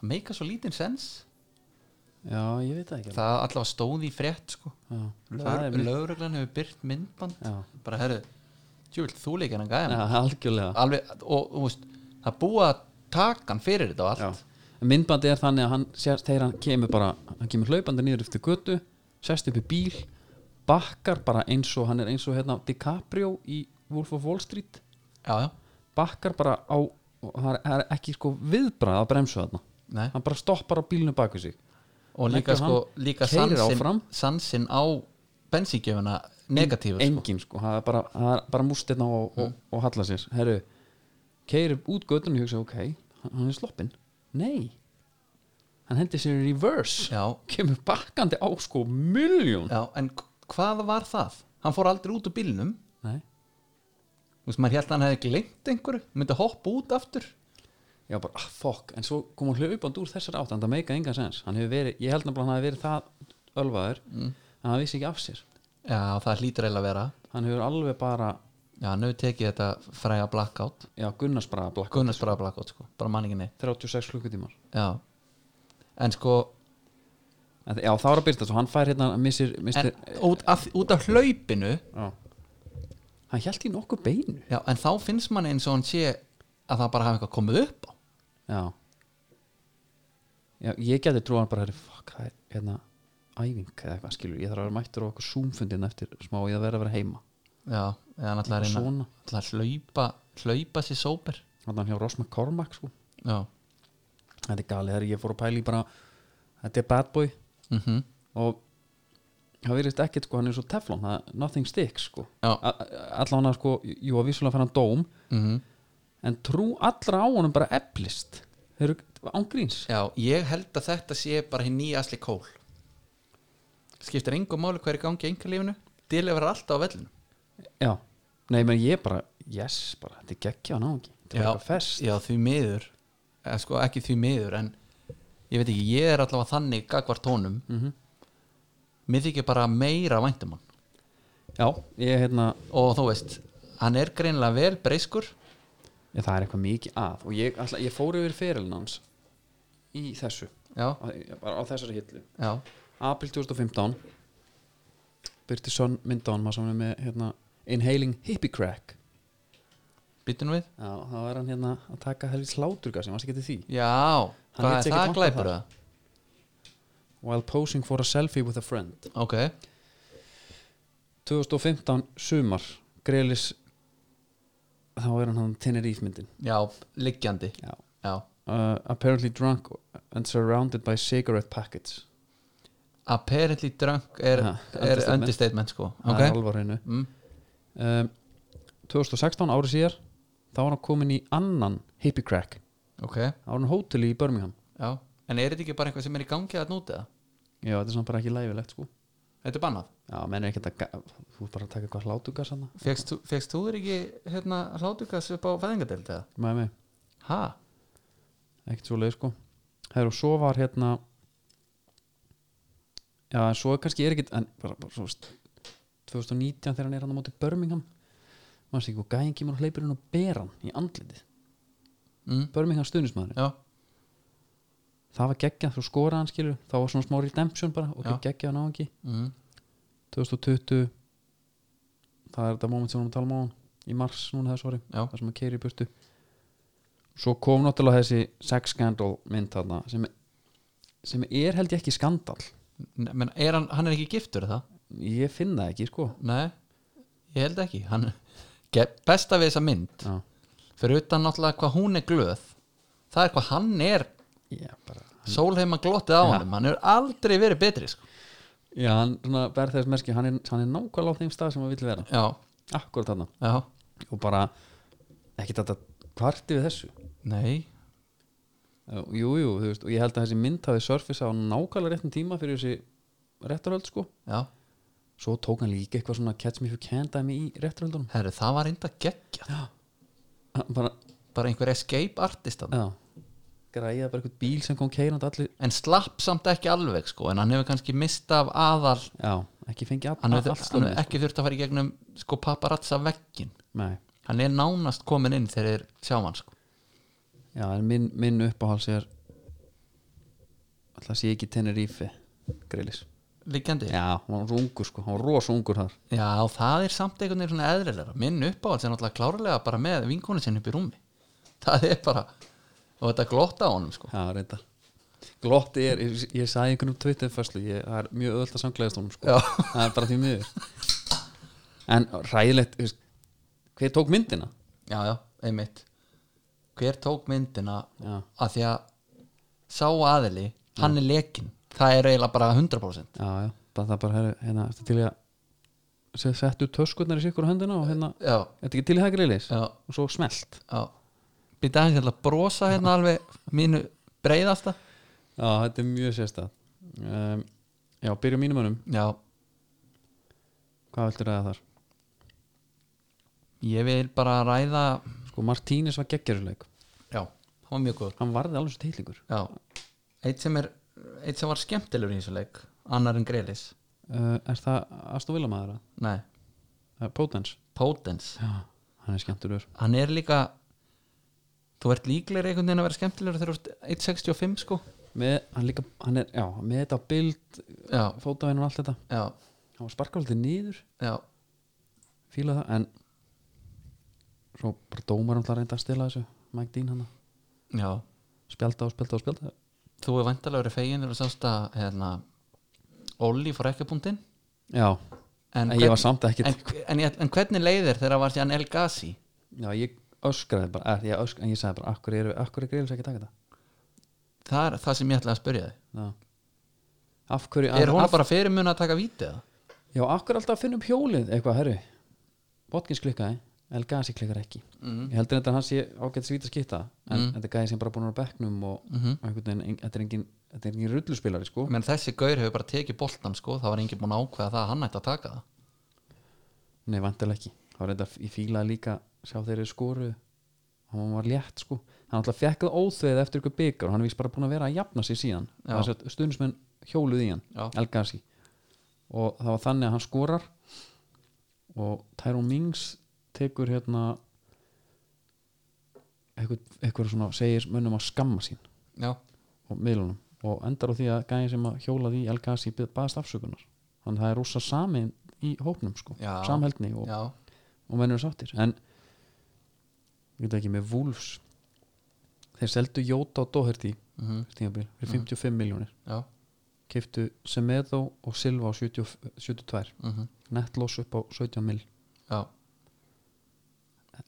Speaker 2: Það meika svo lítinn sens
Speaker 1: já, ég veit það ekki
Speaker 2: Það allavega stóð í frétt sko
Speaker 1: já, það er
Speaker 2: Lög, Lögreglan hefur byrt myndband
Speaker 1: já,
Speaker 2: Bara herru, djúvill þú leikir hann gæðan
Speaker 1: já, algjörlega
Speaker 2: Alveg, og þú veist Það er búið að taka hann fyrir þetta og allt
Speaker 1: Já. En myndbandi er þannig að hann sérst þegar hann kemur bara, hann kemur hlaupandi niður eftir götu, sérst upp í bíl bakkar bara eins og hann er eins og hérna DiCaprio í Wolf of Wall Street,
Speaker 2: Já, já,
Speaker 1: bakkar bara á og það er- það er ekki sko viðbrað að bremsu þarna,
Speaker 2: nei
Speaker 1: hann bara stoppar á bílinu bak við sig,
Speaker 2: Og líka
Speaker 1: Leggur
Speaker 2: sko,
Speaker 1: hann,
Speaker 2: líka
Speaker 1: keyrir
Speaker 2: sansin,
Speaker 1: áfram.
Speaker 2: sansin á bensíngjöfuna negatífur sko. Mm.
Speaker 1: engin sko það er bara, það er bara mústirna og, og, og halla sér herru, keiri út götun og hugsa ok, hann hann er sloppinn nei, hann hendi sér í reverse,
Speaker 2: Já,
Speaker 1: kemur bakkandi á sko miljón
Speaker 2: Já, en k- hvað var það? Hann fór aldrei út úr bílnum
Speaker 1: nei
Speaker 2: Þú veist, maður held að hann hefði gleymt einhverju myndi hoppa út aftur
Speaker 1: Já, bara, ah, fuck, en svo kom hún hlaupand úr þessar átt, en það meika engan sens hann hefur verið, ég held nefnilega að hann hafi verið það ölvaður,
Speaker 2: Mm.
Speaker 1: en hann vissi ekki af sér
Speaker 2: Já, það hlýtur eiginlega að vera
Speaker 1: hann hefur alveg bara,
Speaker 2: Já, hann hefur tekið þetta fræga blackout
Speaker 1: já, gunnarsbraða blakk,
Speaker 2: Gunnarsbara blackout, sko, bara manningin neitt
Speaker 1: 36 klukkutímar
Speaker 2: Já, en sko
Speaker 1: en, þ- Já,
Speaker 2: eh,
Speaker 1: þá er að byrta svo, hann fær hérna missir,
Speaker 2: en,
Speaker 1: missir,
Speaker 2: út, af, út af hlaupinu
Speaker 1: já, hann hjælt í nokkuð beinu
Speaker 2: Já, en þá finnst manni eins og hann sé að það bara hafa eitthvað komið upp á
Speaker 1: já, já ég geti trú að hann bara er, fuck, það er hérna æfing eða eitthvað skilur, ég þarf að vera mættur á okkur zoomfundin eftir smá, ég þarf að vera að vera heima
Speaker 2: Já, eða hann ætlaði að reyna
Speaker 1: svona,
Speaker 2: ætlaði að hlaupa, hlaupa sér sóper
Speaker 1: hann hjá Ross McCormack sko.
Speaker 2: Já,
Speaker 1: þetta er galið, þegar ég fór að pæla í bara þetta er bad boy
Speaker 2: mhm
Speaker 1: og það verðist ekkert sko, hann er svo teflon það, nothing sticks sko
Speaker 2: Já.
Speaker 1: A- a- allan að sko, jú að vissulega fann hann dóm
Speaker 2: Mm
Speaker 1: en trú allra á honum bara eflist þeir eru án gríns
Speaker 2: Já, ég held að þetta sé bara hinn nýja Asli Kól Skiptir engum máli hver er í gangi í einkalífinu Dilið verður alltaf á vellinu
Speaker 1: já, nei menn ég bara yes, bara, þetta er geggja hann á ekki þetta er bara eitthvað fest
Speaker 2: já, því miður eh, sko, Ekki því miður, en Ég veit ekki, ég er allavega þannig gagvart tónum
Speaker 1: mm
Speaker 2: Mér þykir bara meira væntum hann
Speaker 1: já, ég hérna
Speaker 2: Og þú veist, hann er greinilega vel breyskur
Speaker 1: ég, það er eitthvað mikið að og ég, alltaf, ég fór yfir ferilin hans í þessu,
Speaker 2: Já,
Speaker 1: á, bara á þessari hillu
Speaker 2: já,
Speaker 1: april 2015 byrti sönn myndan maður saman með hérna, inhaling hippie crack
Speaker 2: býtum við
Speaker 1: Já, þá er hann hérna að taka helvið sláturga sem varst ekki til því
Speaker 2: Já, hvað
Speaker 1: lét sig ekki
Speaker 2: er það
Speaker 1: vanta um
Speaker 2: glæpur
Speaker 1: þar.
Speaker 2: það?
Speaker 1: While posing for a selfie with a friend
Speaker 2: Ok,
Speaker 1: 2015 sumar Grelis þá er hann hann Tenerife myndin
Speaker 2: já, liggjandi
Speaker 1: Já.
Speaker 2: Já,
Speaker 1: uh, Apparently drunk and surrounded by cigarette packets
Speaker 2: apparently drunk er,
Speaker 1: Ha,
Speaker 2: er
Speaker 1: understatement.
Speaker 2: understatement sko
Speaker 1: Það er
Speaker 2: Ok,
Speaker 1: alvarinu
Speaker 2: mm.
Speaker 1: um, 2016 árið síðar þá var hann komin í annan hippie crack
Speaker 2: ok,
Speaker 1: þá var hann á hóteli í Birmingham
Speaker 2: já En er þetta ekki bara eitthvað sem er í gangi að núti það?
Speaker 1: Já, þetta er svona bara ekki læfilegt sko
Speaker 2: Þetta er bannað
Speaker 1: Já, menn er ekki að ga- þú er bara að taka eitthvað hlátuga sann
Speaker 2: Fegst þú þér ekki hérna hlátugas upp á fæðingadeild eða?
Speaker 1: með mig
Speaker 2: Ha?
Speaker 1: ekkert svo leið sko Heru, og svo var hérna já en svo kannski er ekkert en bara, bara svo veist 2019 þegar hann er hann á móti Birmingham maður sé ekki hvað gæðin kemur og hleypur hann og ber hann í andlitið
Speaker 2: Mm.
Speaker 1: Birmingham stuðnismæður
Speaker 2: Já,
Speaker 1: það var geggjað þú skoraði hann skilur þá var svona smá redemption bara og
Speaker 2: Já.
Speaker 1: geggjað hann á ekki
Speaker 2: mm.
Speaker 1: 2020 það er þetta moment sem við erum að tala um á hann í mars núna þessu ári
Speaker 2: Já.
Speaker 1: það sem að keiri í burtu svo kom náttúrulega þessi sex scandal mynd þarna sem, sem er held ég ekki skandal
Speaker 2: N- menn er hann, hann er ekki giftur er það?
Speaker 1: ég finn það ekki sko
Speaker 2: Nei, ég held ekki hann, Ge- Besta við þessa mynd
Speaker 1: já,
Speaker 2: Fyrir utan náttúrulega hvað hún er glöð Það er hvað hann er
Speaker 1: ég bara
Speaker 2: Sólheima glottið á honum Hann hefur aldrei verið betri sko.
Speaker 1: já, hann svona verð þess merki hann er, hann er nákvæmlega á þeim stað sem hann vill vera
Speaker 2: Já,
Speaker 1: akkurat þarna
Speaker 2: já,
Speaker 1: og bara ekki þetta kvarti við þessu
Speaker 2: nei
Speaker 1: Uh, jú, jú, þú veist og ég held að þessi mynd hafi surfis á nákvæmlega réttum tíma fyrir þessi réttaröld sko
Speaker 2: Já,
Speaker 1: svo tók hann líka eitthvað svona catch me if you can dæmi í rétturöldunum
Speaker 2: herru, það var reynda geggjað
Speaker 1: Hann bara,
Speaker 2: Bara einhver escape artist þarna.
Speaker 1: já græða bara eitthvað bíl sem kom keirandi allir
Speaker 2: En slapp samt ekki alveg sko En hann hefur kannski mista af aðal
Speaker 1: já, ekki fengið all,
Speaker 2: Hann
Speaker 1: all,
Speaker 2: hefur
Speaker 1: allt
Speaker 2: hann
Speaker 1: slunni
Speaker 2: hefur ekki þurft að fara í gegnum Sko paparazza veggin
Speaker 1: nei,
Speaker 2: Hann er nánast komin inn þegar þeir sjá hann sko
Speaker 1: já, en minn, minn uppáhals er alltaf sé ekki Tenerife grillis,
Speaker 2: Liggjandi
Speaker 1: já, hann var svo ungur sko hann var rosa ungur þar
Speaker 2: Já, það er samt einhvern veginn svona eðrilega Minn uppáhalds er náttúrulega klárlega bara með vinkonu sinni upp í rúmi Það er bara og þetta glotta á honum sko
Speaker 1: já, reyndar glotti er, ég, ég sagði einhvern um tvittinfærslu það er mjög öðvöld að samklæðast honum sko
Speaker 2: Já.
Speaker 1: það er bara því miður en ræðilegt, þú veist hver tók myndina?
Speaker 2: Já, já, einmitt Hver tók myndina
Speaker 1: já,
Speaker 2: að því að sá aðili, hann er lekin Það er eiginlega bara 100%
Speaker 1: já, já, bara það bara heru, hérna, ertu til í að se- settu töskurnar í sikur á höndina og hérna,
Speaker 2: Já,
Speaker 1: þetta ekki til í það greilis
Speaker 2: já,
Speaker 1: og svo smelt
Speaker 2: já Býta aðeins ég ætla að brosa hérna alveg mínu breiðasta
Speaker 1: já, þetta er mjög sérstæð um, já, byrja mínum önum,
Speaker 2: Já,
Speaker 1: hvað viltu ræða þar?
Speaker 2: ég vil bara ræða
Speaker 1: sko, Martínis var geggjaruleik
Speaker 2: Já, það var mjög góð
Speaker 1: hann varði alveg svo teillingur
Speaker 2: Já, eitt sem, er, eitt sem var skemmtilegur í þessu leik annar en Grelis
Speaker 1: uh, er það Aston Villa maður að?
Speaker 2: Nei,
Speaker 1: Uh, Potence,
Speaker 2: Potens
Speaker 1: já, hann er skemmtilegur
Speaker 2: Hann er líka þú ert líklegri einhvern veginn að vera skemmtilegur þegar þú ert 1.65 sko
Speaker 1: með, hann líka, hann er, já, með þetta á bild
Speaker 2: Já,
Speaker 1: fótaðin og allt þetta
Speaker 2: já,
Speaker 1: hann var sparkaldið niður,
Speaker 2: já
Speaker 1: fílað það en svo bara dómarum það reynda að stila þessu Mike Dean hann
Speaker 2: já,
Speaker 1: spjálta og spjálta og spjálta
Speaker 2: þú er vantarlega verið fegin þegar þú sást að hérna, Olli fór ekki búndin
Speaker 1: já, en, ég var samt ekki
Speaker 2: en, en, ég- en hvernig leiðir þegar var sér El Gassi
Speaker 1: já, ég öskraði bara eh, ég ösk, en ég sagði bara, akkur er, akkur er greiðlis ekki að taka þetta
Speaker 2: það er það sem ég ætlaði að spyrja þig
Speaker 1: já. af hverju
Speaker 2: er hún
Speaker 1: af,
Speaker 2: bara fyrir mun að taka víti eða?
Speaker 1: já, akkur alltaf að finna upp hjólið eitthvað, herru, Botkins klikkaði El Gassi klikkar ekki
Speaker 2: Mm.
Speaker 1: ég heldur þetta að hans sé ágætt svít að skipta en
Speaker 2: Mm.
Speaker 1: þetta er gæði sem bara búin að vera á bekknum og
Speaker 2: Mm -hmm.
Speaker 1: og einhvern veginn, ein- þetta er engin, þetta er engin rulluspilari sko
Speaker 2: menn þessi gaur hefur bara tekið boltan sko, það var enginn búin að ákveða það að hann ætti að taka það
Speaker 1: Nei, vantilega ekki Það var þetta, ég fílaði líka sjá þeirri skoru Hann var létt sko Hann alltaf fekk það óþveið eftir ykkur byggar og hann er vist bara búin að vera að jafna sig síðan
Speaker 2: Já.
Speaker 1: Stundismenn hjóluð í hann
Speaker 2: Já.
Speaker 1: El Gassi og það var þannig að hann skorar og Tyrone Mings tekur hérna eitthvað, eitthvað svona segir mönnum að skamma sín
Speaker 2: já,
Speaker 1: og miðlunum og endar á því að gæði sem að hjólaði í El Gassi baðast afsökunar þannig að það er rúsa samin í hópnum sko,
Speaker 2: Já.
Speaker 1: samheldni og,
Speaker 2: já,
Speaker 1: og menn eru sáttir en ég veit ekki með Wolves þeir seldu Jóta og Doherty
Speaker 2: mm
Speaker 1: stíðanbíl, fyrir 55 miljónir
Speaker 2: já
Speaker 1: keiftu Semedo og Silva á 70, 72
Speaker 2: mm
Speaker 1: netloss upp á 17 mil
Speaker 2: já,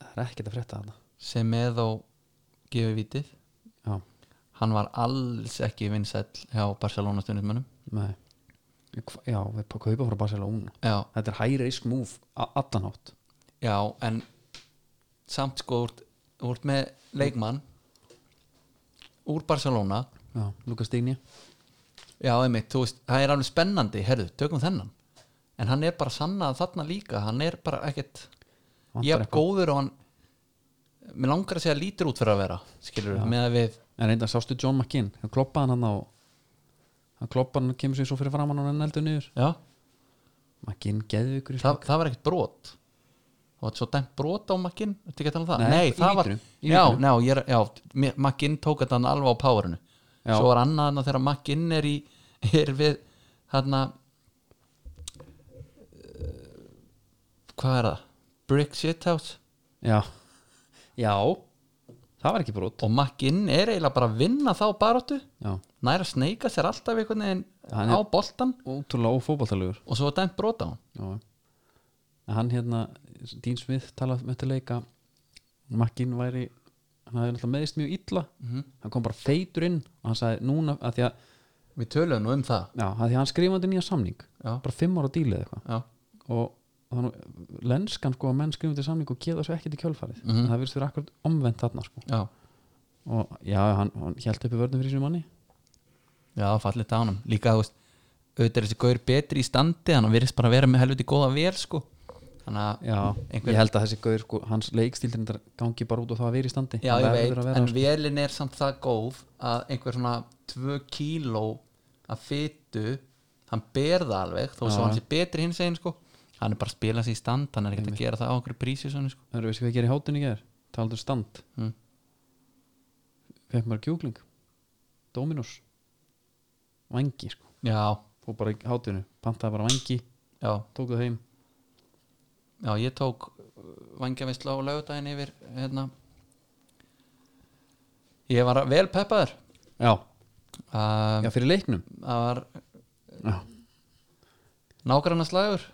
Speaker 1: það er ekkert að frétta þarna
Speaker 2: sem eða gefið vítið
Speaker 1: Já.
Speaker 2: hann var alls ekki vinsæll hjá Barcelona stundismönnum
Speaker 1: Nei. Hva- já, við bara kaupa frá Barcelona
Speaker 2: já,
Speaker 1: þetta er high risk move a- allan átt
Speaker 2: já, en samt sko, úr, úr með leikmann úr Barcelona
Speaker 1: já, Lukas Digni
Speaker 2: já, einmitt, þú veist, það er alveg spennandi herðu, tökum þennan en hann er bara sannað þarna líka hann er bara ekkert ég er góður og hann mér langar að segja lítur út fyrir að vera skilur við, með að við
Speaker 1: en reynda sástu John McKinn hann kloppaði hann hann á hann kloppaði hann kemur sér svo fyrir framann og hann eldur niður
Speaker 2: já,
Speaker 1: McKinn geði ykkur
Speaker 2: það, það var ekkert brot það var svo dæmt brot á Makkinn ertu ekki að tala um það?
Speaker 1: Nei, í
Speaker 2: það
Speaker 1: vítunum, í
Speaker 2: já,
Speaker 1: vítunum.
Speaker 2: ná, ég, er- já, mér- Makkinn tók þetta hann alveg á powerinu
Speaker 1: Já.
Speaker 2: svo var annað hann þegar Makkinn er í er við hann eh, hvað er það? Brick Shithouse
Speaker 1: já já það var ekki brot
Speaker 2: og Makkinn er eiginlega bara að vinna þá baráttu
Speaker 1: já
Speaker 2: nær að sneika sér alltaf einhvern veginn
Speaker 1: Hann
Speaker 2: á
Speaker 1: er-
Speaker 2: boltan
Speaker 1: ótrúlega ófóbaltalugur
Speaker 2: og svo var dæmt brota á hann
Speaker 1: já en hann hérna Dean Smith talað með til leika McKinn væri hann hafði náttúrulega meðist mjög illa
Speaker 2: Mhm.
Speaker 1: hann kom bara feitur inn og hann sagði núna að því að
Speaker 2: við töluðum nú um það
Speaker 1: já að því að hann skrifandi nýja samning
Speaker 2: já,
Speaker 1: bara fimm ára dílið eitthvað
Speaker 2: já,
Speaker 1: og þannig, lenskan sko að menn skrifum til samning og geða svo ekkert í kjölfarið
Speaker 2: Mhm.
Speaker 1: en það virðist fyrir akkurat omvend þarna sko
Speaker 2: já,
Speaker 1: og já, hann, hann hjælt uppi vörnum fyrir sínum manni
Speaker 2: já fallið á hann líka þú veist, auðvitað er þessi gaur betri í standi hann virðist bara að vera með helviti góða vel sko þannig að,
Speaker 1: já,
Speaker 2: Einhver-
Speaker 1: ég held að þessi gaur sko, hans leikstíl reyndar gangi bara út og það að vera í standi
Speaker 2: já
Speaker 1: Hann
Speaker 2: ég
Speaker 1: verður
Speaker 2: veit
Speaker 1: að vera,
Speaker 2: en
Speaker 1: sko.
Speaker 2: velin er samt það góð að einhver svona 2 kíló að fytu hann ber það alveg þó
Speaker 1: Já.
Speaker 2: svo hann sé betri hins einn sko hann er bara að spila sér í stand hann er ekkert að gera það á okkur prísi svona sko
Speaker 1: það eru veist hvað ég gerir í hátinn í gær talaðu stand,
Speaker 2: mm.
Speaker 1: fekk maður kjúkling Dominos vangi sko,
Speaker 2: já,
Speaker 1: fór bara í hátinu pantaði bara vangi,
Speaker 2: já
Speaker 1: tók það heim
Speaker 2: Já, ég tók vangjavisla á laugardaginn yfir hérna Ég var vel peppaður
Speaker 1: já,
Speaker 2: Það
Speaker 1: já fyrir leiknum
Speaker 2: það var
Speaker 1: já.
Speaker 2: nágrannaslægur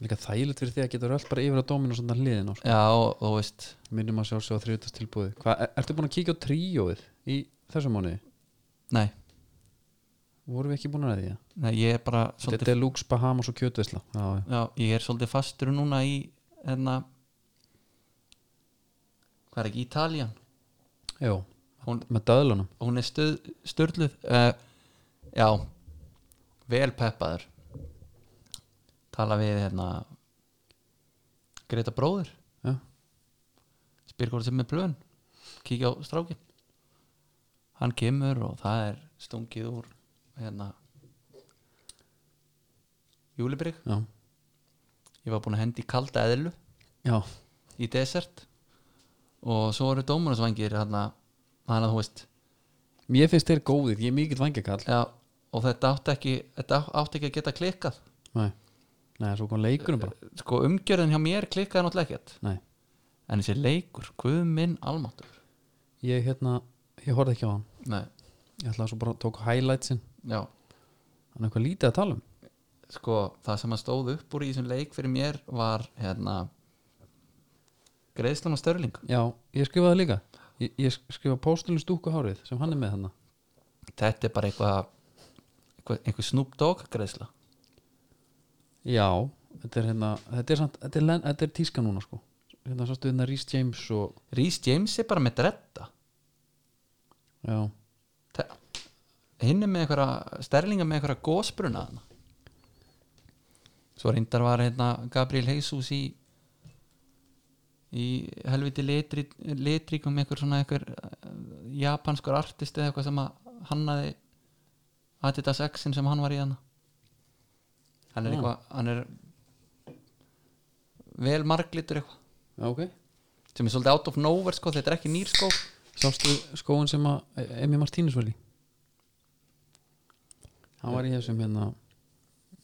Speaker 1: líka þægilegt fyrir því að geta rölt bara yfir að Dominos andan hliðin á sko.
Speaker 2: Já, og þú veist
Speaker 1: minnum að sjá svo að þriðutast tilbúið Hva, er, Ertu búin að kíkja á tríóið í þessum mánuði?
Speaker 2: Nei,
Speaker 1: Vorum við ekki búin að ræða því? það?
Speaker 2: nei ég er bara
Speaker 1: Þetta
Speaker 2: svolítið,
Speaker 1: er Lux, Bahamas og kjötveisla Já, já.
Speaker 2: já, ég er svolítið fastur núna í hérna Hvað er ekki, Ítalían
Speaker 1: já
Speaker 2: Hún,
Speaker 1: með döðlunum
Speaker 2: hún er stuð, störluð uh, Já Vel peppaður Tala við hérna Greta bróður
Speaker 1: Já,
Speaker 2: spyr hvort sem er plön kíkja á strákin hann kemur og það er stungið úr hérna júlibrygg
Speaker 1: já,
Speaker 2: ég var búinn að hendi í kalda eðlu
Speaker 1: já,
Speaker 2: í desert og svo eru dómurinsvangir hérna hann að þú veist
Speaker 1: Mér finnst þeir góðir, ég er mikill vangjakall
Speaker 2: já, og þetta átti ekki þetta á- átti ekki að geta klikkað
Speaker 1: Nei, Nei svo kom leikunum bara
Speaker 2: sko umgjörðin hjá mér klikkaði náttúrulega ekkert
Speaker 1: Nei,
Speaker 2: en þessi leikur, guð minn almáttur
Speaker 1: ég hérna, ég horfði ekki á hann
Speaker 2: nei,
Speaker 1: ég ætlaði svo bara að tók highlightsin
Speaker 2: já,
Speaker 1: hann er eitthvað lítið að tala um
Speaker 2: sko það sem að stóð upp úr í þessum leik fyrir mér var hérna greiðslan á störling
Speaker 1: já, ég skrifaði það líka ég, ég skrifa póstulinn stúkuhárið sem hann er með hann
Speaker 2: þetta er bara eitthvað eitthvað- einhver Snoop Dogg greiðsla
Speaker 1: já, þetta er hérna þetta er, samt, þetta er, len, þetta er tíska núna sko hérna sástu hérna Rhys James og
Speaker 2: Rhys James er bara með dretta
Speaker 1: já,
Speaker 2: Þe- hinn er með einhverja sterlinga með einhverja gósbruna hana. svo reyndar var hérna Gabriel Jesus í í helviti litri, litrík um einhver svona einhver eh, japanskur artist eða eitthvað sem að hannaði Adidas X-in sem hann var í hana hann
Speaker 1: Já.
Speaker 2: er eitthvað hann er vel marglitur eitthvað
Speaker 1: já ok
Speaker 2: sem er svolítið out of nowhere sko, þetta er ekki nýr skó
Speaker 1: sástu skóin sem að E-, Emi Martínus var í hann var í þessum hérna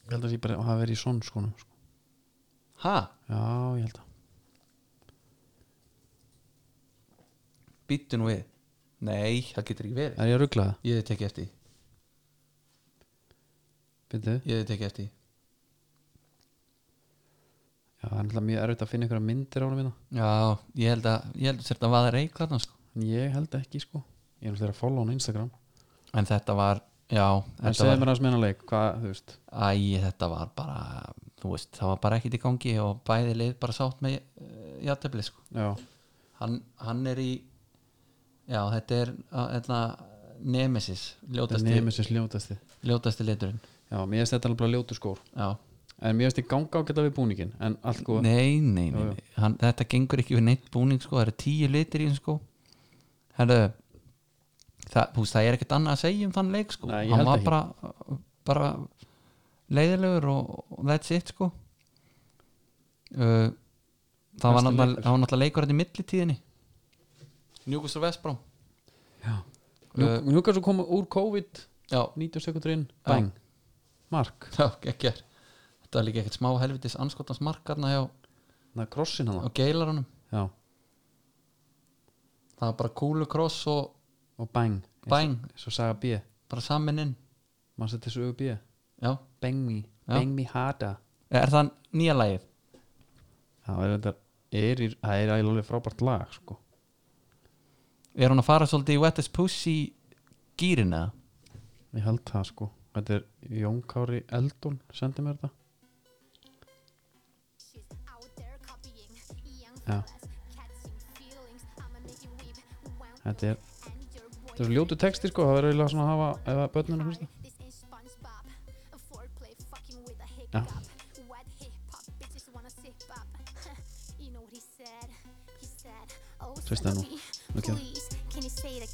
Speaker 1: ég held að ég bara hafa verið í sonn skónum sko.
Speaker 2: ha,
Speaker 1: já, ég held að
Speaker 2: býttu nú við nei, það getur ekki verið
Speaker 1: er ég að ruggla það?
Speaker 2: ég hef tekið eftir því.
Speaker 1: Byrðu?
Speaker 2: ég hef tekið eftir því.
Speaker 1: já, það er alltaf mjög erfitt að finna einhverja myndir á hérna. hann minna
Speaker 2: já, ég held að ég held að þetta var reik þarna sko
Speaker 1: en ég held ekki sko ég er alltaf að follow hann á Instagram
Speaker 2: en þetta var, já,
Speaker 1: en
Speaker 2: þetta
Speaker 1: segðu
Speaker 2: var
Speaker 1: mér hans meina leik hvað, þú veist
Speaker 2: æ, þetta var bara þú veist, það var bara ekkit í gangi og bæði leið bara sátt með uh, játefli sko,
Speaker 1: já,
Speaker 2: hann, hann er í já, þetta er uh, hérna, nemesis
Speaker 1: þetta er
Speaker 2: ljótasti,
Speaker 1: nemesis ljótasti
Speaker 2: ljótasti liturinn
Speaker 1: já, mér finnst þetta alveg bara ljótu skór
Speaker 2: já,
Speaker 1: en mér finnst ég ganga ágæta við búningin en allt góð
Speaker 2: nei, nei,
Speaker 1: Jú,
Speaker 2: nei,
Speaker 1: jú.
Speaker 2: nei. Hann, þetta gengur ekki við neitt búning sko, það eru tíu litir í þessum sko herru það, þú veist, það er ekkert annað að segja um þann leik sko,
Speaker 1: Nei, ég
Speaker 2: hann
Speaker 1: held
Speaker 2: var
Speaker 1: ekki.
Speaker 2: bara bara leiðilegur og, og that's it sko uh, það, var
Speaker 1: Besti
Speaker 2: náttúrulega,
Speaker 1: leikur.
Speaker 2: það var náttúrulega leikur þetta í millitíðinni Newcastle Vesbrám
Speaker 1: Njú- Newcastle kom úr COVID
Speaker 2: já,
Speaker 1: 90 sekundur inn, bang mark,
Speaker 2: já, ekki þetta var líka ekkert smá helvitis anskotans markarna hjá,
Speaker 1: það er krossin hann
Speaker 2: á geilarunum
Speaker 1: já,
Speaker 2: það var bara kúlu kross og
Speaker 1: og bang
Speaker 2: bæng,
Speaker 1: svo saga B,
Speaker 2: bara samin inn
Speaker 1: mann sett þessu ögu B
Speaker 2: já
Speaker 1: bang me,
Speaker 2: Já.
Speaker 1: bang me harda
Speaker 2: Eh, Er það nýja lagið?
Speaker 1: það er þetta er, í- það er alveg frábært lag sko.
Speaker 2: Er hún að fara svolítið í Wettest Pussy gýrin eða?
Speaker 1: ég held það sko þetta er Jón Kári Eldon sendi mér þetta
Speaker 3: Já Þetta er Þetta er svo ljótu texti sko Það er eiginlega svona að hafa Ef að börnum er að hlusta Já Sveist það nú Nú kemur
Speaker 1: segði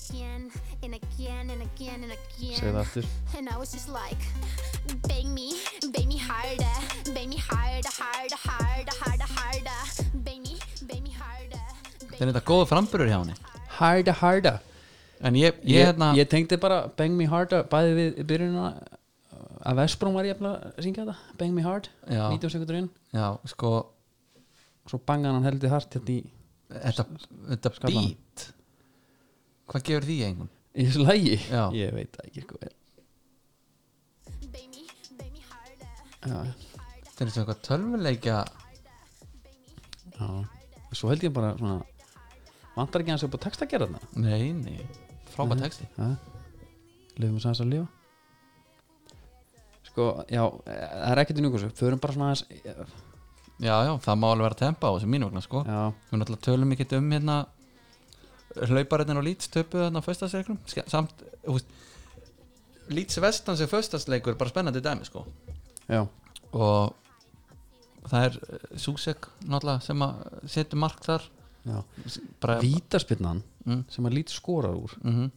Speaker 3: Segð
Speaker 1: það
Speaker 3: það
Speaker 1: aftur
Speaker 3: And I was just like, bang me, bang me harder, bang me harder, harder, harder, harder, harder, bang me, bang me harder.
Speaker 2: Það er þetta góða framburur hjá henni
Speaker 1: harda harda
Speaker 2: En ég, ég,
Speaker 1: ég,
Speaker 2: hérna
Speaker 1: ég tengdi bara bang me harda bæði við í byrjunina uh, að Vesprón var ég jafnilega að syngja þetta bang me hard,
Speaker 2: Já.
Speaker 1: 90 sekundur inn
Speaker 2: Já, sko
Speaker 1: svo bangan hann heldur hart hérna í
Speaker 2: Þetta, þetta
Speaker 1: Skallan.
Speaker 2: beat Hvað gefur því einhvern?
Speaker 1: í þessu lægi
Speaker 2: Já.
Speaker 1: ég veit það ekki sko
Speaker 3: Bang me, bang me harder,
Speaker 1: já.
Speaker 2: Það er þetta eitthvað tölvuleikja
Speaker 1: Já. svo held ég bara svona vantar ekki hans upp á text að gera þarna
Speaker 2: Nei, nei Frábæð texti
Speaker 1: lefum við sæðast að lifa sko, já eh, það er ekkert í njúkursu, förum bara svona aðeins eh,
Speaker 2: Já, já, það má alveg vera tempa á þessu mínu vegna, sko
Speaker 1: já,
Speaker 2: Við náttúrulega tölum ekkert um hérna hlauparinn og lít töpuð þarna á föstasleikunum samt, þú veist Líts vestans er föstasleikur bara spennandi dæmi, sko
Speaker 1: já,
Speaker 2: og það er eh, Susek náttúrulega sem að setja mark þar
Speaker 1: já
Speaker 2: S- bara,
Speaker 1: vítaspinnan
Speaker 2: Mm.
Speaker 1: sem að lít skorar úr
Speaker 2: mm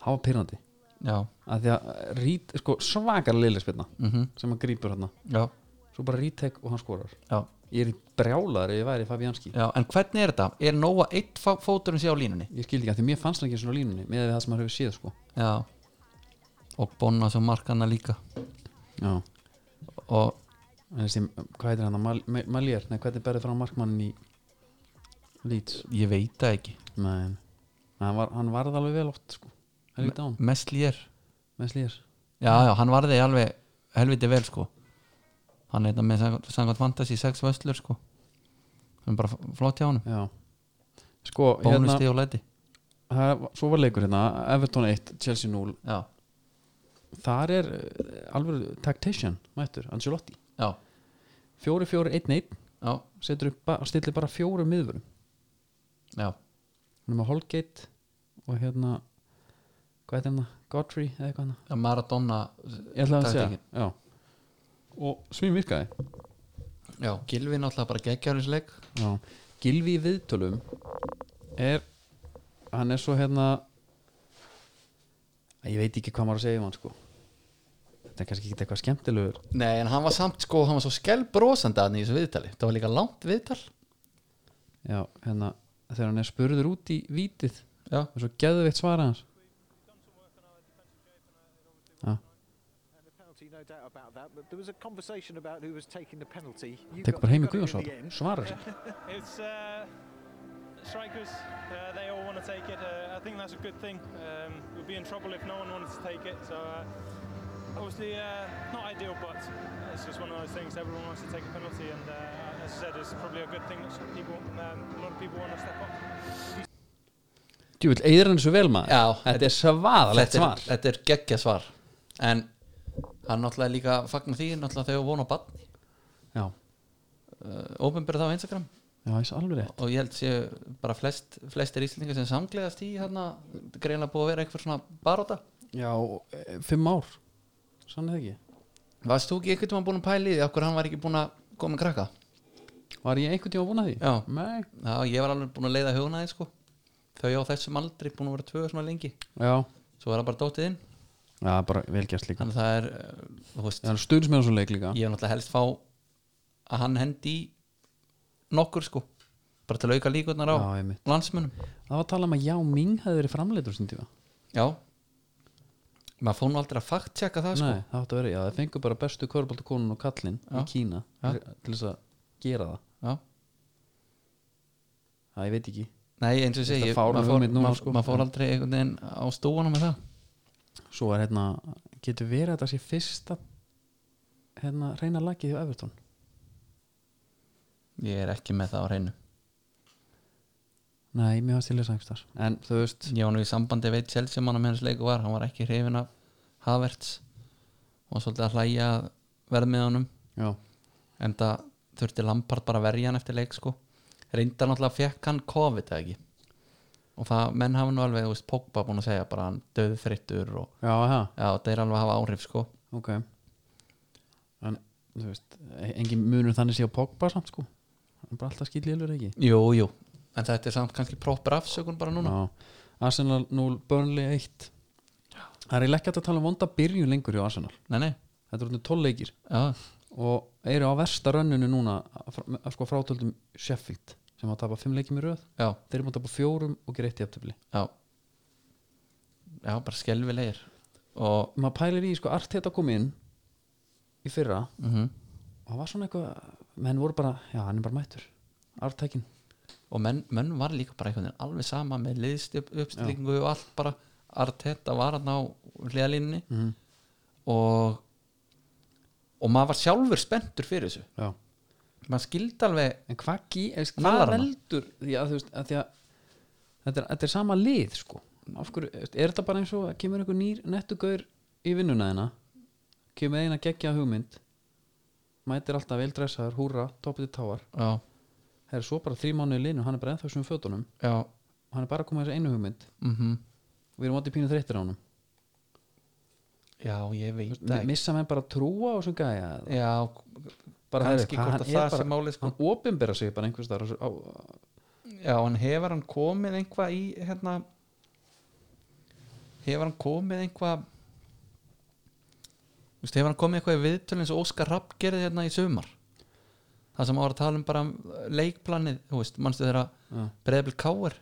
Speaker 1: það var pyrrandi
Speaker 2: já,
Speaker 1: að því að eh, rít, sko, svakar lille spinna
Speaker 2: mm
Speaker 1: sem að grípur hérna
Speaker 2: já,
Speaker 1: svo bara rítek og hann skorar
Speaker 2: já,
Speaker 1: ég er brjálaður ef ég væri Fabianski
Speaker 2: já en hvernig er þetta? Er nóga eitt fá- fóturinn sé á línunni?
Speaker 1: ég skildi ekki að því mér fannst hann ekki svona á línunni með það sem maður hefur séð sko
Speaker 2: Já og bóna svo markana líka
Speaker 1: já,
Speaker 2: og
Speaker 1: en þessi, hvað heitir hann Mal- Ma- Malier, nei, hvernig berðið frá markmannin í Leeds
Speaker 2: ég veit það ekki
Speaker 1: Nei, hann, var, hann varð alveg vel oft sko. helviti á hann,
Speaker 2: mest lér
Speaker 1: með slýjar
Speaker 2: já, já, hann varði alveg helviti vel sko hann er þetta með samkvæmt- samkvæmt fantasy sex vöslur sko hann er bara f- flott hjá honum
Speaker 1: Já Sko, hérna,
Speaker 2: bónusti og læti
Speaker 1: það var- svo var leikur hérna Everton 1, Chelsea 0
Speaker 2: já,
Speaker 1: Þar er eh, alveg tactician, mættur, Ancelotti
Speaker 2: já,
Speaker 1: 4-4-1-1,
Speaker 2: já,
Speaker 1: setur upp ba- og stillir bara fjórum miðvörum
Speaker 2: já
Speaker 1: Hann er með Holgate og hérna hvað heitir hann, Godfrey eða eitthvað hann
Speaker 2: Já, Maradona
Speaker 1: Ég ætlaði að segja,
Speaker 2: taktíkin.
Speaker 1: já Og svín virkaði
Speaker 2: já, Gilvi náttúrulega bara geggjæðlisleik
Speaker 1: já. Gilvi í viðtölum er, hann er svo hérna Æ, ég veit ekki hvað maður að segja um hann sko Þetta er kannski ekki eitthvað skemmtilegur
Speaker 2: nei, en hann var samt sko, hann var svo skellbrósandi að hann í þessu viðtali, það var líka langt viðtal
Speaker 1: Já, hérna þegar hann er spurður út í vítið
Speaker 2: já,
Speaker 1: og svo geðveitt svara hans Já,
Speaker 4: And the penalty, no doubt about that. But there was a conversation about who was taking the penalty. You
Speaker 1: tekur
Speaker 4: got-
Speaker 1: bara heim
Speaker 4: you
Speaker 1: í
Speaker 4: got it in
Speaker 1: Guðjónsson
Speaker 4: the end.
Speaker 1: svara þessu
Speaker 5: It's uh, strikers. Uh, they all want to take it. Uh, I think that's a good thing. Um, we'd be in trouble if no one wanted to take it. So uh, obviously uh, not ideal, but it's just one of those things. Everyone wants to take a penalty, and uh, as I said, it's probably a good thing that some people, um, a lot of people want to step up.
Speaker 1: Djúvill, eigður hann þessu vel maður
Speaker 2: Já,
Speaker 1: Þetta er svaðalegt
Speaker 2: þetta er,
Speaker 1: svar
Speaker 2: þetta er geggja svar en hann náttúrulega líka fagnar því náttúrulega þegar vona á badni
Speaker 1: Já,
Speaker 2: uh, openbyrð það á Instagram
Speaker 1: já, þessu alveg rétt
Speaker 2: og ég held séu bara flest, flestir íslendingar sem samgleðast í hérna greinlega búið að vera eitthvað svona baróta
Speaker 1: Já, og, eh, fimm ár Sann eða ekki
Speaker 2: varst þú ekki einhvern tímann búin að pæli því okkur hann var ekki búin að koma með krakka
Speaker 1: Var ég einhvern tíma búin að því?
Speaker 2: Já.
Speaker 1: Nei.
Speaker 2: já, ég var alveg búin að leiða hugna því sko þau á þessum aldri búin að vera tvö svona lengi
Speaker 1: Já,
Speaker 2: svo er það bara dótið inn
Speaker 1: já bara velgjast líka
Speaker 2: þannig að það er, uh, þú veist
Speaker 1: Það er stunds með þessu leik líka
Speaker 2: ég vil náttúrulega helst fá að hann hendi í nokkur sko bara til að auka líkurnar á
Speaker 1: Já, einmitt.
Speaker 2: landsmönum
Speaker 1: Það var að tala um að Já Ming hefði verið framleitur sinni tíma
Speaker 2: já maður fór nú aldrei að fakt tjekka það sko
Speaker 1: Nei, það átti að vera, já, það fengur bara bestu körbóltakonun og kallinn í
Speaker 2: Já.
Speaker 1: Kína
Speaker 2: Já.
Speaker 1: til til þess að gera það
Speaker 2: já.
Speaker 1: Það ég veit ekki
Speaker 2: nei eins og ég
Speaker 1: Þetta
Speaker 2: segi
Speaker 1: er fáránleg
Speaker 2: maður fór,
Speaker 1: hugmynd núna,
Speaker 2: maður,
Speaker 1: sko.
Speaker 2: maður fór aldrei einhvern veginn á stúana með það
Speaker 1: Svo er hérna, getur verið að þetta sé fyrsta hérna, reyna lagið hjá Everton
Speaker 2: ég er ekki með það á hreinu
Speaker 1: Nei, mér varst til þess aðeins þar En þú veist,
Speaker 2: ég var nú í sambandi veit sjálf sem hann að með hans leiku var hann var ekki hrifin af Havertz og svolítið að hlæja verð með honum
Speaker 1: já,
Speaker 2: en það þurfti Lampard bara að verja hann eftir leik sko reyndar náttúrulega fekk hann COVID eða ekki og það menn hafa nú alveg þú veist, Pogba búin að segja bara hann döðu þrittur og
Speaker 1: já, já,
Speaker 2: já það er alveg að hafa áhrif sko
Speaker 1: ok En þú veist, engin munur þannig sé á Pogba samt sko Hann er bara alltaf skiljilegur ekki
Speaker 2: jú jú en þetta er samt kannski proper afsökun bara núna
Speaker 1: Já, Arsenal 0, Burnley 1 Það er eiginlega ekki hægt að tala um vonda byrjun lengur hjá Arsenal
Speaker 2: nei nei
Speaker 1: Þetta er orðinu 12 leikir
Speaker 2: já
Speaker 1: og eru á versta rönninu núna fr- með- sko frátöldum Sheffield sem hafa tapað 5 leikir með röð
Speaker 2: já
Speaker 1: þeir eru búin að tapa 4 og gera 1 í aftöfli
Speaker 2: já já bara skelvilegir og
Speaker 1: maður pælir í sko Arteta kom inn í fyrra
Speaker 2: mm
Speaker 1: og það var svona eitthvað menn voru bara, já hann er bara mættur Artekin,
Speaker 2: og menn, menn var líka bara einhvern veginn alveg sama með liðstjöp, uppstillingu og allt bara Arteta var hann á hliðalínni
Speaker 1: Mhm.
Speaker 2: og og maður var sjálfur spenntur fyrir þessu
Speaker 1: já
Speaker 2: maður skildi alveg
Speaker 1: en hvað, gí- eða,
Speaker 2: Hann
Speaker 1: hvað
Speaker 2: var hana.
Speaker 1: veldur því að þú veist að því að þetta er, þetta er sama lið sko af hverju, þú veist, er þetta bara eins og að kemur einhver nýr nettugaur í vinnuna þeina kemur eina geggja hugmynd mætir alltaf veldressaður, húra, toppið til táar
Speaker 2: já,
Speaker 1: það er svo bara þrý mánuði linu hann er bara ennþá sem fötunum
Speaker 2: já,
Speaker 1: hann er bara að koma þessi einu hugmynd
Speaker 2: mm
Speaker 1: mhm. og við erum átti pínu þreyttir á honum
Speaker 2: já ég veit það
Speaker 1: Mi-
Speaker 2: ekki
Speaker 1: missa menn bara trúa á þessum gæja eða?
Speaker 2: já,
Speaker 1: bara
Speaker 2: kannski
Speaker 1: hvað,
Speaker 2: hvort
Speaker 1: hann
Speaker 2: að
Speaker 1: er
Speaker 2: það
Speaker 1: bara,
Speaker 2: sé málið, sko.
Speaker 1: hann opinbera sig bara einhvers þar á, á,
Speaker 2: já, en hefur hann komið einhvað í hérna hefur hann komið einhvað Þú veist, hefur hann komið eitthvað í viðtölu eins og Óskar Rapp gerði hérna í sumar það sem hann var að tala um bara um leikplanið, þú veist, manstu þeirra
Speaker 1: Já.
Speaker 2: breyðabil káir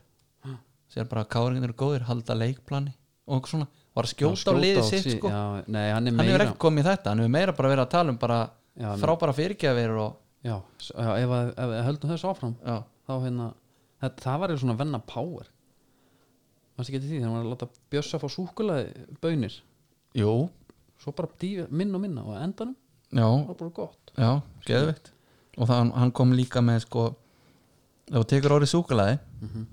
Speaker 2: sér bara káringin eru góðir, halda leikplani og eitthvað svona, var að skjóta, á liðið
Speaker 1: á
Speaker 2: sitt
Speaker 1: sig-
Speaker 2: sko.
Speaker 1: já, nei, hann er
Speaker 2: hann hefur
Speaker 1: meira
Speaker 2: ekki komið í þetta, hann hefur meira bara verið að tala um bara
Speaker 1: Já, nei.
Speaker 2: frábæra fyrirgjafir og
Speaker 1: já, s- já, ef, að, ef að höldum þessu áfram
Speaker 2: já,
Speaker 1: þá hérna það, það var eða svona venna power Varstu ekki eftir því þegar hann var að láta Bjössa fá súkulaði bönir
Speaker 2: Jú,
Speaker 1: svo bara dýfa, minna og minna og á endanum
Speaker 2: já,
Speaker 1: var bara gott
Speaker 2: já, geðveikt Og það, hann kom líka með sko Ef þú tekur orðið súkulaði mm
Speaker 1: Mhm.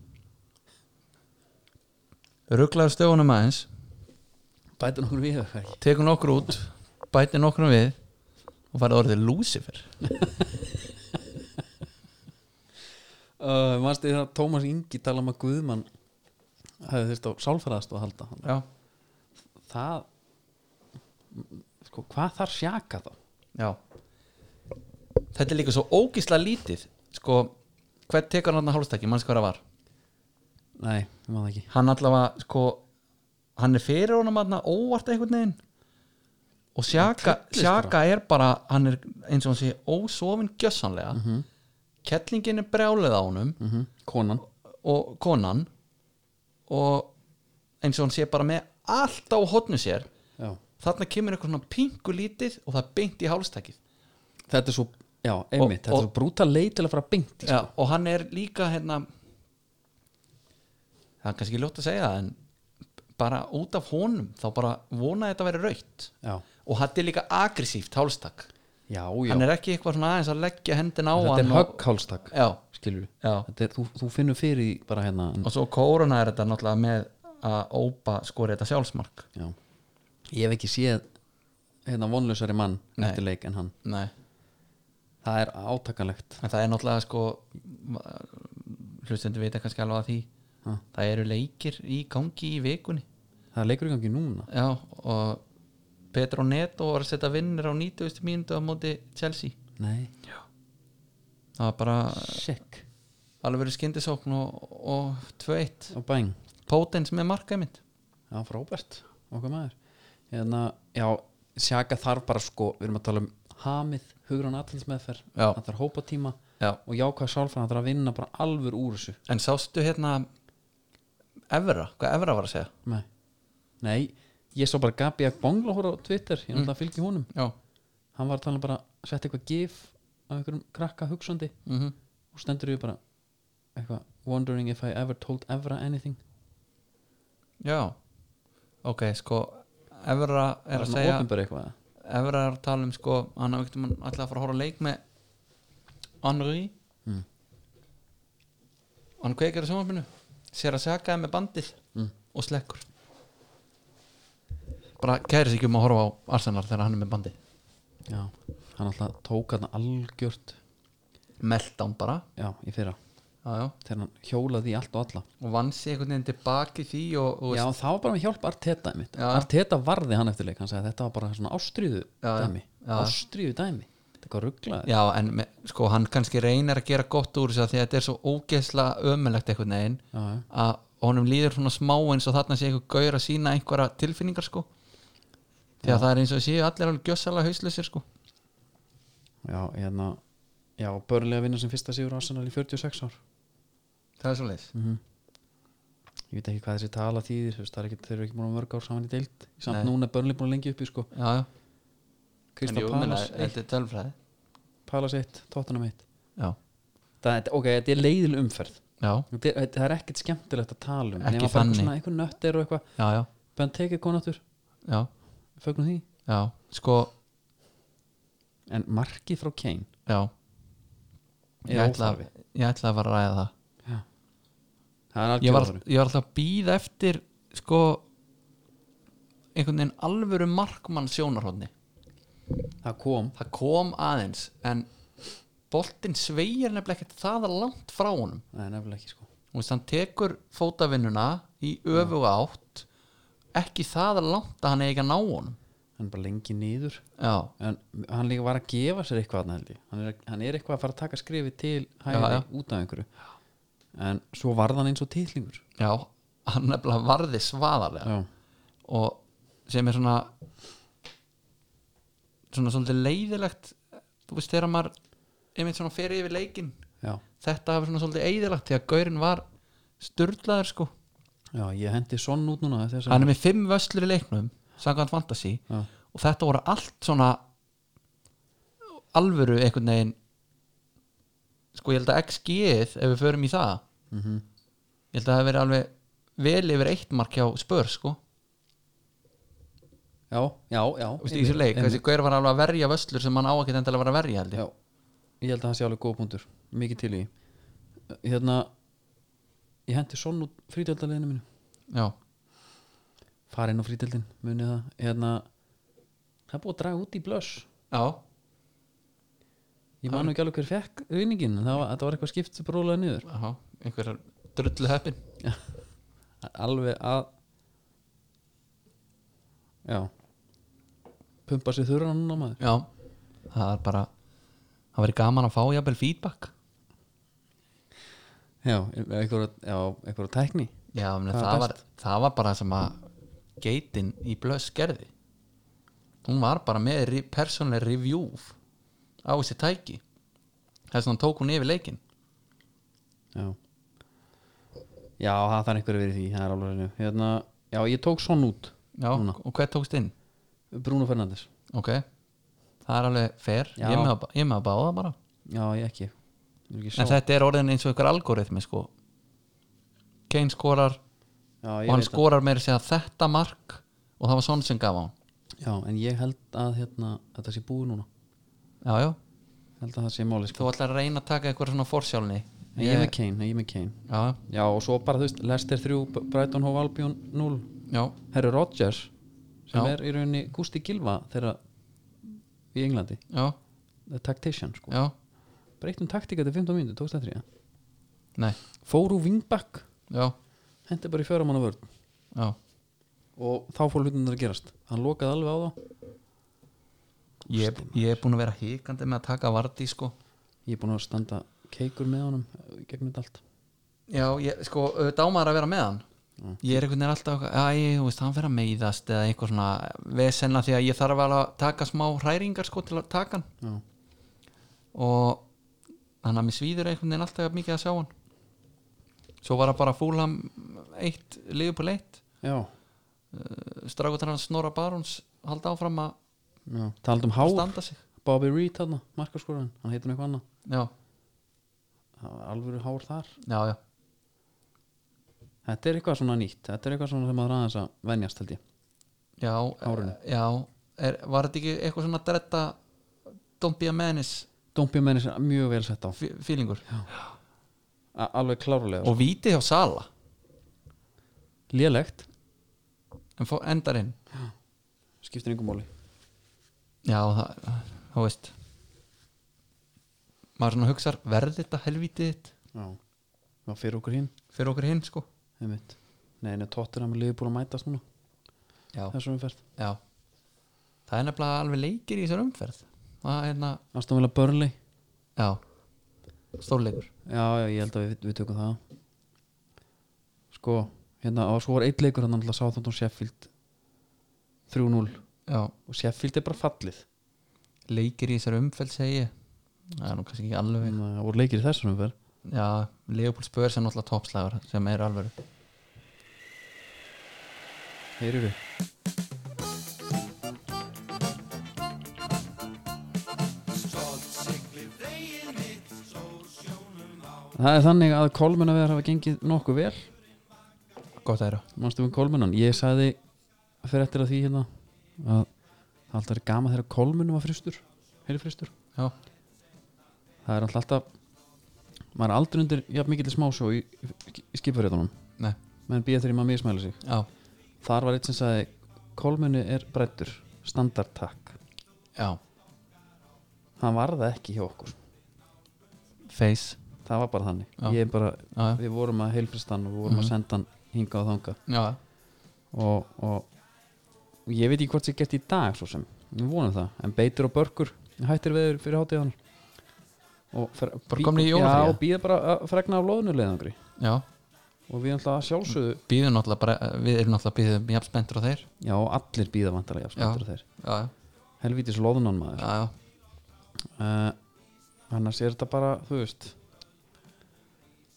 Speaker 2: -hmm. Rugglaður stöfunum aðeins
Speaker 1: bæta nokkur við eða hvað ekki
Speaker 2: Tekur nokkur út, bætir nokkur við Og farið orðið Lucifer
Speaker 1: uh, mannstu þegar Tómas Ingi tala um að Guðmann hefði þurft á sálfæraðast að halda
Speaker 2: Já,
Speaker 1: það sko, hvað þarf sjaka þá
Speaker 2: já Þetta er líka svo ógisla lítið Sko, hvert tekur hann að hálfstæki, manns hvað það var
Speaker 1: nei, ég maður það ekki
Speaker 2: hann allavega sko hann er fyrir honum aðna óvart einhvern veginn og Sjaka,
Speaker 1: Hann trillist
Speaker 2: Sjaka er bara hann er eins og hann sé ósofin gjössanlega kettlingin er brjálið á honum
Speaker 1: mm konan
Speaker 2: og konan og eins og hann sé bara með allt á hotnu sér
Speaker 1: já.
Speaker 2: þarna kemur eitthvað svona pingu lítið og það er beint í hálstækið
Speaker 1: þetta er svo, já, einmitt þetta
Speaker 2: og-
Speaker 1: er svo brúta leið til að fara beint í
Speaker 2: Já, og hann er líka hérna það er kannski ljótt að segja það en bara út af honum þá bara vonaði þetta að vera raukt
Speaker 1: já,
Speaker 2: og hann er líka agressíft hálstak
Speaker 1: já, já.
Speaker 2: hann er ekki eitthvað svona aðeins að leggja hendin á
Speaker 1: þetta
Speaker 2: hann
Speaker 1: er högghálstak
Speaker 2: og, já,
Speaker 1: skilur
Speaker 2: já.
Speaker 1: við, þú, þú finnur fyrir því bara hérna en-
Speaker 2: og svo korona er þetta náttúrulega með að ópa skori þetta sjálfsmark
Speaker 1: já. ég hef ekki séð hérna vonlausari mann
Speaker 2: Nei.
Speaker 1: eftir leik en hann
Speaker 2: Nei.
Speaker 1: það er átakanlegt
Speaker 2: en það er náttúrulega sko hlustendur vita kannski alveg að því
Speaker 1: Ha.
Speaker 2: það eru leikir í gangi í vikunni
Speaker 1: það er leikur í gangi núna
Speaker 2: já, og Petro Neto var að setja vinnir á 90. mínútu á móti Chelsea
Speaker 1: nei,
Speaker 2: það var bara
Speaker 1: sjekk
Speaker 2: alveg verið skyndisókn og, og 2-1
Speaker 1: og bæng
Speaker 2: Potens með markaði mitt
Speaker 1: Já, frábært, okkar maður hérna, Já, sjaka þarf bara sko við erum að tala um hamið hugrann aðhaldsmeðferð,
Speaker 2: Já.
Speaker 1: það þarf hópa tíma
Speaker 2: já
Speaker 1: og jákvæða sálfræðan þarf að vinna bara alvör úr þessu
Speaker 2: En sástu hérna Evra, hvað Evra var að segja
Speaker 1: Nei, Nei ég sá bara Gabi að bongla hóra á Twitter ég náttúrulega fylgi honum,
Speaker 2: Já,
Speaker 1: hann var að tala um bara að setja eitthvað gif af einhverjum krakka hugsandi
Speaker 2: mm -hmm.
Speaker 1: og stendur ég bara eitthvað, wondering if I ever told Evra anything
Speaker 2: já. Ok, sko Evra er að
Speaker 1: svona
Speaker 2: segja
Speaker 1: opinber eitthvað
Speaker 2: Evra er að tala um sko hann hafði ekkert um hann ætlaði að fara að horfa á leik með Henry
Speaker 1: Mm.
Speaker 2: Hann kveikir á sjónvarpinu sér að sakaði með bandið
Speaker 1: Mm.
Speaker 2: og slekkur bara kæri sig ekki um að horfa á Arsenal þegar hann er með bandið
Speaker 1: Já, hann alltaf tók hann algjört
Speaker 2: Meltdown bara
Speaker 1: já, í fyrra,
Speaker 2: já, já.
Speaker 1: þegar hann hjólaði í allt og alla
Speaker 2: og vann sig einhvern veginn tilbaki því og, og
Speaker 1: Já, það var bara með hjálp Arteta einmitt.
Speaker 2: Já.
Speaker 1: Arteta varði hann eftir leik hann sagði að þetta var bara svona ástríðu
Speaker 2: Já, já.
Speaker 1: dæmi
Speaker 2: Já.
Speaker 1: ástríðu dæmi, þetta er hvað rugglaður
Speaker 2: Já, en me, sko, hann kannski reynir að gera gott úr þess að því að þetta er svo ógeðsla ömulegt einhvern veginn
Speaker 1: já.
Speaker 2: að honum líður svona smá eins og þarna sé einhver gaur að sína einhverja tilfinningar sko því að það er eins og séu allir alveg gjössalega hauslausir sko
Speaker 1: já, hérna Já, börnlega vinna sem fyrsta sigur á Arsenal í 46 ár
Speaker 2: Það er svo leis
Speaker 1: Ég veit ekki hvað þessi tala þýðir þú veist, það er ekki, þeir eru ekki múin að mörg ár saman í deild Samt
Speaker 2: Nei.
Speaker 1: núna er börnlega búin að lengi upp í sko
Speaker 2: Já, já, en
Speaker 1: Krista
Speaker 2: jú, meina,
Speaker 1: Palas 1,
Speaker 2: þetta er tölfræði
Speaker 1: Palas 1, Tottenham 1
Speaker 2: Já,
Speaker 1: Það er, ok, þetta er leiðil umferð
Speaker 2: já,
Speaker 1: Þetta er- þetta er ekkert skemmtilegt að tala um
Speaker 2: Ekki
Speaker 1: nema bara eitthvað
Speaker 2: þannig.
Speaker 1: svona, eitthvað nöttir og eitthvað
Speaker 2: já, já,
Speaker 1: Ben tekið konatúr,
Speaker 2: já,
Speaker 1: fögnum því
Speaker 2: já Sko,
Speaker 1: En markið frá Kane
Speaker 2: já
Speaker 1: er
Speaker 2: ætla,
Speaker 1: óþarfi
Speaker 2: ég ætla að fara að ræða það
Speaker 1: Það er
Speaker 2: ég
Speaker 1: algjör
Speaker 2: var,
Speaker 1: óþarfi
Speaker 2: ég var alltaf að býða eftir sko einhvern veginn alvöru markmann sjónarhóðni
Speaker 1: Það kom
Speaker 2: það kom aðeins en boltinn sveigir nefnilega ekkert það langt frá honum
Speaker 1: Nei, nefnilega ekki sko
Speaker 2: Þú veist, hann tekur fótavinnuna í öfu átt ekki það langt að hann eigi ekki að ná honum
Speaker 1: Hann er bara lengi niður
Speaker 2: já,
Speaker 1: En hann líka var að gefa sér eitthvað þarna, held ég. hann er, hann er eitthvað að fara að taka skrifi til hægri
Speaker 2: Já, já.
Speaker 1: út af einhverju En svo varð hann eins og titlingur
Speaker 2: já, hann nefnilega varði svaðarlega
Speaker 1: Já,
Speaker 2: og sem er svona svona svolítið leiðilegt þú veist þegar maður einmitt svona fer yfir leikinn
Speaker 1: já,
Speaker 2: þetta hafi svona svolítið eðilagt því að gaurinn var sturlaður sko
Speaker 1: já ég hendi sonn út núna eftir þessa-
Speaker 2: hann er með fimm vöslur í leiknum samkvæmt fantasy
Speaker 1: Já.
Speaker 2: og þetta voru allt svona alvöru einhvern veginn sko ég held að XG-ið ef við förum í það ég held að það hafi verið alveg vel yfir eitt mark hjá spör sko,
Speaker 1: já, já, já
Speaker 2: Þú veist, í þessu leik þessi gaur var alveg að verja vöslur sem hann á ekki endilega var að verja held ég,
Speaker 1: Já, ég held að það sé alveg góð punktur Mikið til í því. Hérna Ég henti sonn út frítjaldaliðinu mínu
Speaker 2: já,
Speaker 1: Farinn á frítjaldin, munið það Hérna Það er búið að draga út í blöss
Speaker 2: já.
Speaker 1: Ég man nú ekki alveg hver fekk vinningin en það var, Þetta var eitthvað skipt bróðlega niður
Speaker 2: já. einhverjar drullu heppin
Speaker 1: Alveg að Já Pumpa sér þurran núna maður
Speaker 2: já, það er bara það verið gaman að fá jafnvel feedback
Speaker 1: Já, einhverja, já, einhverja tækni
Speaker 2: já, meni,
Speaker 1: Það er
Speaker 2: það, var,
Speaker 1: best.
Speaker 2: það var bara sem að geitin í blöss gerði hún var bara með re- persónleg review á þessi tæki þess að hann tók hún yfir leikin
Speaker 1: Já Já, það þarf einhverju verið í því Það er alveg hennu hérna, Já, ég tók sonn út
Speaker 2: já,
Speaker 1: Núna.
Speaker 2: og hvað tókst inn?
Speaker 1: Bruno Fernandes
Speaker 2: ok, það er alveg fair
Speaker 1: Já.
Speaker 2: ég er með að- ég er með að báða bara
Speaker 1: Já, ég ekki, ég er ekki
Speaker 2: en
Speaker 1: sá-
Speaker 2: þetta er orðin eins og ykkur algoritmi sko Kane skorar
Speaker 1: Já,
Speaker 2: og
Speaker 1: ég
Speaker 2: hann
Speaker 1: veit
Speaker 2: skorar meira að segja þetta mark og það var svona sem gaf á hann
Speaker 1: það. Já, en ég held að hérna, þetta sé búið núna
Speaker 2: já, já,
Speaker 1: Ég held að það sé máli sko.
Speaker 2: þú ætlar að reyna að taka eitthvað svona forsjálni
Speaker 1: En ég er með Kane, en ég er með Kane
Speaker 2: já,
Speaker 1: Já, og svo bara, þú veist, Lester 3, B- Brighton Hove Albion 0
Speaker 2: já,
Speaker 1: Herru Rodgers sem
Speaker 2: Já.
Speaker 1: er í rauninni Gusti Gilva þegar í Englandi
Speaker 2: já,
Speaker 1: The Tactician, sko
Speaker 2: já
Speaker 1: Breytum taktika til 15 mínútur, tókst það þrjá
Speaker 2: nei,
Speaker 1: Fóru vingbakk,
Speaker 2: já,
Speaker 1: hendi bara í fjöramanna vörn
Speaker 2: já,
Speaker 1: og þá fór hlutinir að gerast hann lokaði alveg á þá
Speaker 2: ég, ég er búin að vera hikandi með að taka Vardí sko
Speaker 1: ég er búin að standa keikur með honum eh, í gegnum þetta allt
Speaker 2: já, ég, sko, dámaður að vera með hann ég er einhvern veginn alltaf eitthvað, æ, þú veist, hann fyrir að meiðast eða eitthvað svona vesenna því að ég þarf alveg að taka smá hræringar sko til að taka hann
Speaker 1: Já.
Speaker 2: og hann að mér svíður einhvern veginn alltaf jafn mikið að sjá hann svo var það bara fúlam eitt, liður på leitt
Speaker 1: já,
Speaker 2: strákutar hann Snorra Barons halda áfram að
Speaker 1: já. talað um Háf
Speaker 2: standa sig
Speaker 1: Bobby Reed hann, markaskorun, hann heitir hann eitthvað annað
Speaker 2: já,
Speaker 1: Það var alvöru hár þar
Speaker 2: já, já,
Speaker 1: þetta er eitthvað svona nýtt, þetta er eitthvað svona sem maður aðeins að venjast held ég
Speaker 2: já, eh,
Speaker 1: Hárinu.
Speaker 2: já er, var þetta ekki eitthvað svona dretta don't be a menace
Speaker 1: Dompi mennir sér mjög vel sett á
Speaker 2: fí- feelingur
Speaker 1: A alveg klárlega,
Speaker 2: og víti hjá Sala
Speaker 1: sko. lélegt
Speaker 2: en fó- endar inn
Speaker 1: skiptir yngum máli
Speaker 2: já, það, þú veist maður svona hugsar verði þetta helvítið þitt
Speaker 1: já, það fyrir okkur hinn
Speaker 2: fyrir okkur hinn sko
Speaker 1: einmitt. nei, nei, tóttir hann með liðbúl að mætast núna
Speaker 2: já,
Speaker 1: þessum umferð,
Speaker 2: já það er nefnilega alveg leikir í þessar umferð það er hérna,
Speaker 1: aðstofnilega börnli
Speaker 2: já stórleikur,
Speaker 1: Já, já, ég held að við, við tökum það Sko, hérna og svo var eitt leikur hann alltaf sáþótt og Sheffield 3-0
Speaker 2: já
Speaker 1: og Sheffield er bara fallið
Speaker 2: leikir í þessar umferð segi ég það er nú kannski ekki alveg
Speaker 1: Þannig að það Hérna, voru leikir í þessum umferð
Speaker 2: já, Leopold Spurs er náttúrulega toppslagur sem er alveg
Speaker 1: Heyrir við Það er þannig að kolmunaveðar hafa gengið nokkuð vel
Speaker 2: gott að eru
Speaker 1: Manstu um kolmunan? Ég sagði fyrir eftir að því hérna að það alltaf er gama þegar kolmunum var fristur heili fristur
Speaker 2: já,
Speaker 1: það er alltaf alltaf maður er aldrei undir jafn mikill smásjó í, í, í skipverðunum
Speaker 2: nei,
Speaker 1: menn býða þegar maður mismæla sig
Speaker 2: já,
Speaker 1: þar var eitt sem sagði kolmunni er brettur standardtakk
Speaker 2: já
Speaker 1: hann var það ekki hjá okkur
Speaker 2: face,
Speaker 1: það var bara þannig
Speaker 2: Já.
Speaker 1: Ég er bara,
Speaker 2: já, Mhm.
Speaker 1: við vorum að heilfrist hann og við vorum að senda hann hinga og þanga
Speaker 2: já já,
Speaker 1: og, og, og ég veit ekki hvort sér gert í dag svo sem, við vonum það en beitur og börkur, hættir veður fyrir hátíðan og fer,
Speaker 2: Bara
Speaker 1: bí-
Speaker 2: komnir í
Speaker 1: já,
Speaker 2: jólafrí,
Speaker 1: og býða bara að fregna af loðnuleiðangri
Speaker 2: já
Speaker 1: og við alltaf að sjálfsögðu
Speaker 2: býðum náttúrulega bara, eh, við erum náttúrulega býðum jafn spenntur á þeir
Speaker 1: Já, allir býða vantarlega jafnstættur þeir
Speaker 2: já, já,
Speaker 1: Helvítis loðunan maður
Speaker 2: já, já.
Speaker 1: uh, Annars er þetta bara, þú veist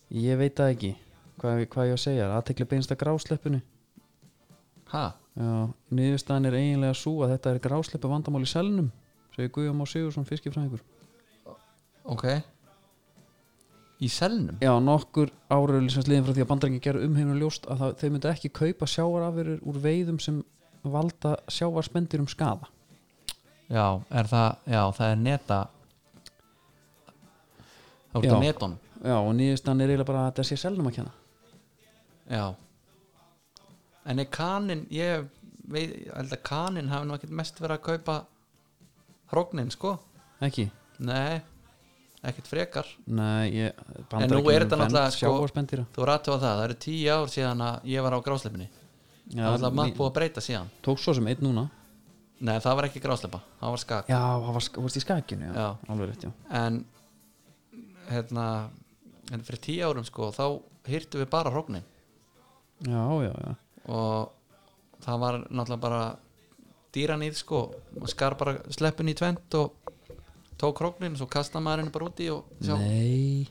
Speaker 1: Ég veit það ekki Hvað, hvað ég á að segja, aðtekli beinst að grásleppinu
Speaker 2: ha,
Speaker 1: Já, niðurstaðan er eiginlega sú að þetta er grásleppu vandamál í selnum segir Guðjón Már Sigursson fiskifræðingur
Speaker 2: ok í selnum
Speaker 1: Já, nokkur áröðli sem sliðin frá því að bandrækinn gerði umheiminu ljóst að það, þeir myndu ekki kaupa sjávarafurur úr veiðum sem valda sjávarspendir um skaða
Speaker 2: já, er það, já, það er neta það voru
Speaker 1: Já.
Speaker 2: það neton
Speaker 1: Já, og nýðistan er eiginlega bara að þetta sé selnum að kenna
Speaker 2: já en er kanin ég veit, ég held að kanin hafi nú ekkert mest verið að kaupa hrógnin, sko
Speaker 1: Ekki?
Speaker 2: nei, ekkert frekar
Speaker 1: Nei, ég,
Speaker 2: En nú er þetta náttúrulega, sko-
Speaker 1: Sjávarspendira
Speaker 2: þú voru aðtöfa það, það eru tíu ár síðan að ég var á grásleipinni
Speaker 1: Já,
Speaker 2: það var alltaf
Speaker 1: ný-
Speaker 2: maður búið að breyta síðan
Speaker 1: Tók svo sem einn núna
Speaker 2: nei, það var ekki grásleipa, það var skak
Speaker 1: Já, það var, sk- þú varst í skakinu, já,
Speaker 2: Já.
Speaker 1: Alveg rétt, já
Speaker 2: en hérna, en fyrir tíu árum sko þá hýrtu við bara hróknin
Speaker 1: Já, já, já
Speaker 2: og það var náttúrulega bara dýran í sko maður skar bara sleppin í tvent og tók hróknin og svo kasta maður henni bara úti og sjá
Speaker 1: Nei,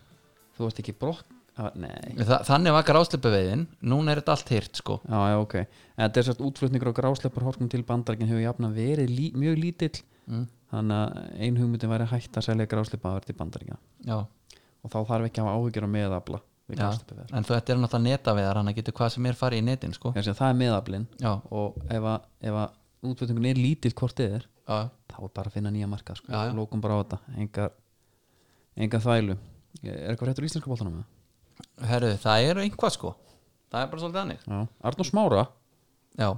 Speaker 1: þú varst ekki brokk ah, Nei,
Speaker 2: Þa, þannig var grásleipaveiðin, núna er þetta allt hýrt sko
Speaker 1: já, já, ok En þetta er sérst útflutningur á grásleppar horkum til bandargin hefur jafna verið lí, mjög lítill
Speaker 2: mm.
Speaker 1: þannig að ein hugmyndin væri að hætta að selja grásleipaður til bandargin
Speaker 2: já,
Speaker 1: og þá þarf ekki að hafa áhyggjur á meðabla við
Speaker 2: já.
Speaker 1: grásleipaður
Speaker 2: en þú þetta er náttúrulega netaveiðar hann getur hvað sem er farið í netin sko já,
Speaker 1: það er meðablin
Speaker 2: já,
Speaker 1: og ef að, ef að útflutningun er lítill hvort eð er
Speaker 2: já,
Speaker 1: þá er bara að finna nýja markað sko.
Speaker 2: Já, já.
Speaker 1: lókum bara á þetta, engar engar þvælu er eitthvað réttur í íslenska bóltanum?
Speaker 2: herru, það er einhvað sko það er bara svolítið annir
Speaker 1: Arnur Smára,
Speaker 2: já,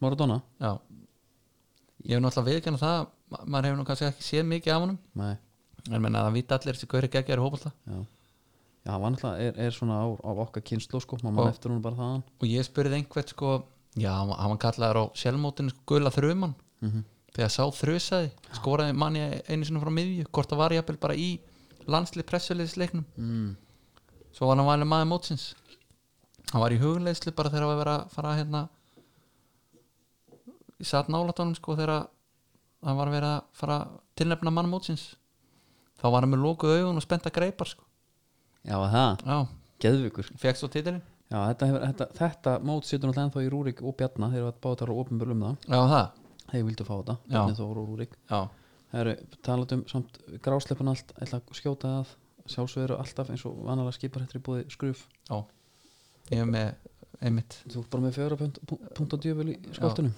Speaker 1: Smára Donna
Speaker 2: Já Ég hef náttúrulega viðkjörna það ma- maður hefur nú kannski ekki séð mikið af honum
Speaker 1: Nei,
Speaker 2: en menna það vita allir þessi gauri geggjær hópulta
Speaker 1: já Já, hann var náttúrulega, er, er svona á, á okkar kynslu sko, maður
Speaker 2: Og-
Speaker 1: eftir hún bara þaðan
Speaker 2: og ég spurði einhvern sko já, hann var- hann var kallaður á sjálfmótinu sko, gula þruman þegar sá þrusaði, skoraði manni einu sinni frá miðju, hvort það var jafnvel bara í landslið pressulegisleiknum mm. svo var hann valið maður mótsins hann var í hugleislu bara þegar að vera að fara að hérna ég satt nálætt honum sko þegar að hann var að vera að fara að tilnefna mann mótsins þá var hann með lókuð augun og spennt að greipar sko
Speaker 1: Já, var það,
Speaker 2: já,
Speaker 1: geðvikur
Speaker 2: fekk svo titilin
Speaker 1: Já, þetta, hefur, þetta, þetta mót situr náttúrulega ennþá í Rúrik og Bjarna, þeir eru að báta á opinbjörl um það
Speaker 2: já það,
Speaker 1: þeir vildu fá þetta,
Speaker 2: Já.
Speaker 1: Bjarni Þór og Rúrik
Speaker 2: já,
Speaker 1: Það eru talað um samt grásleipun allt, ætla að skjóta að sjálfsögur alltaf eins og vanalega skipar þetta í búið skruf
Speaker 2: já ég hef með einmitt
Speaker 1: Þú ert bara með fjöra punt- pu- punkt og djöfvel í skoltunum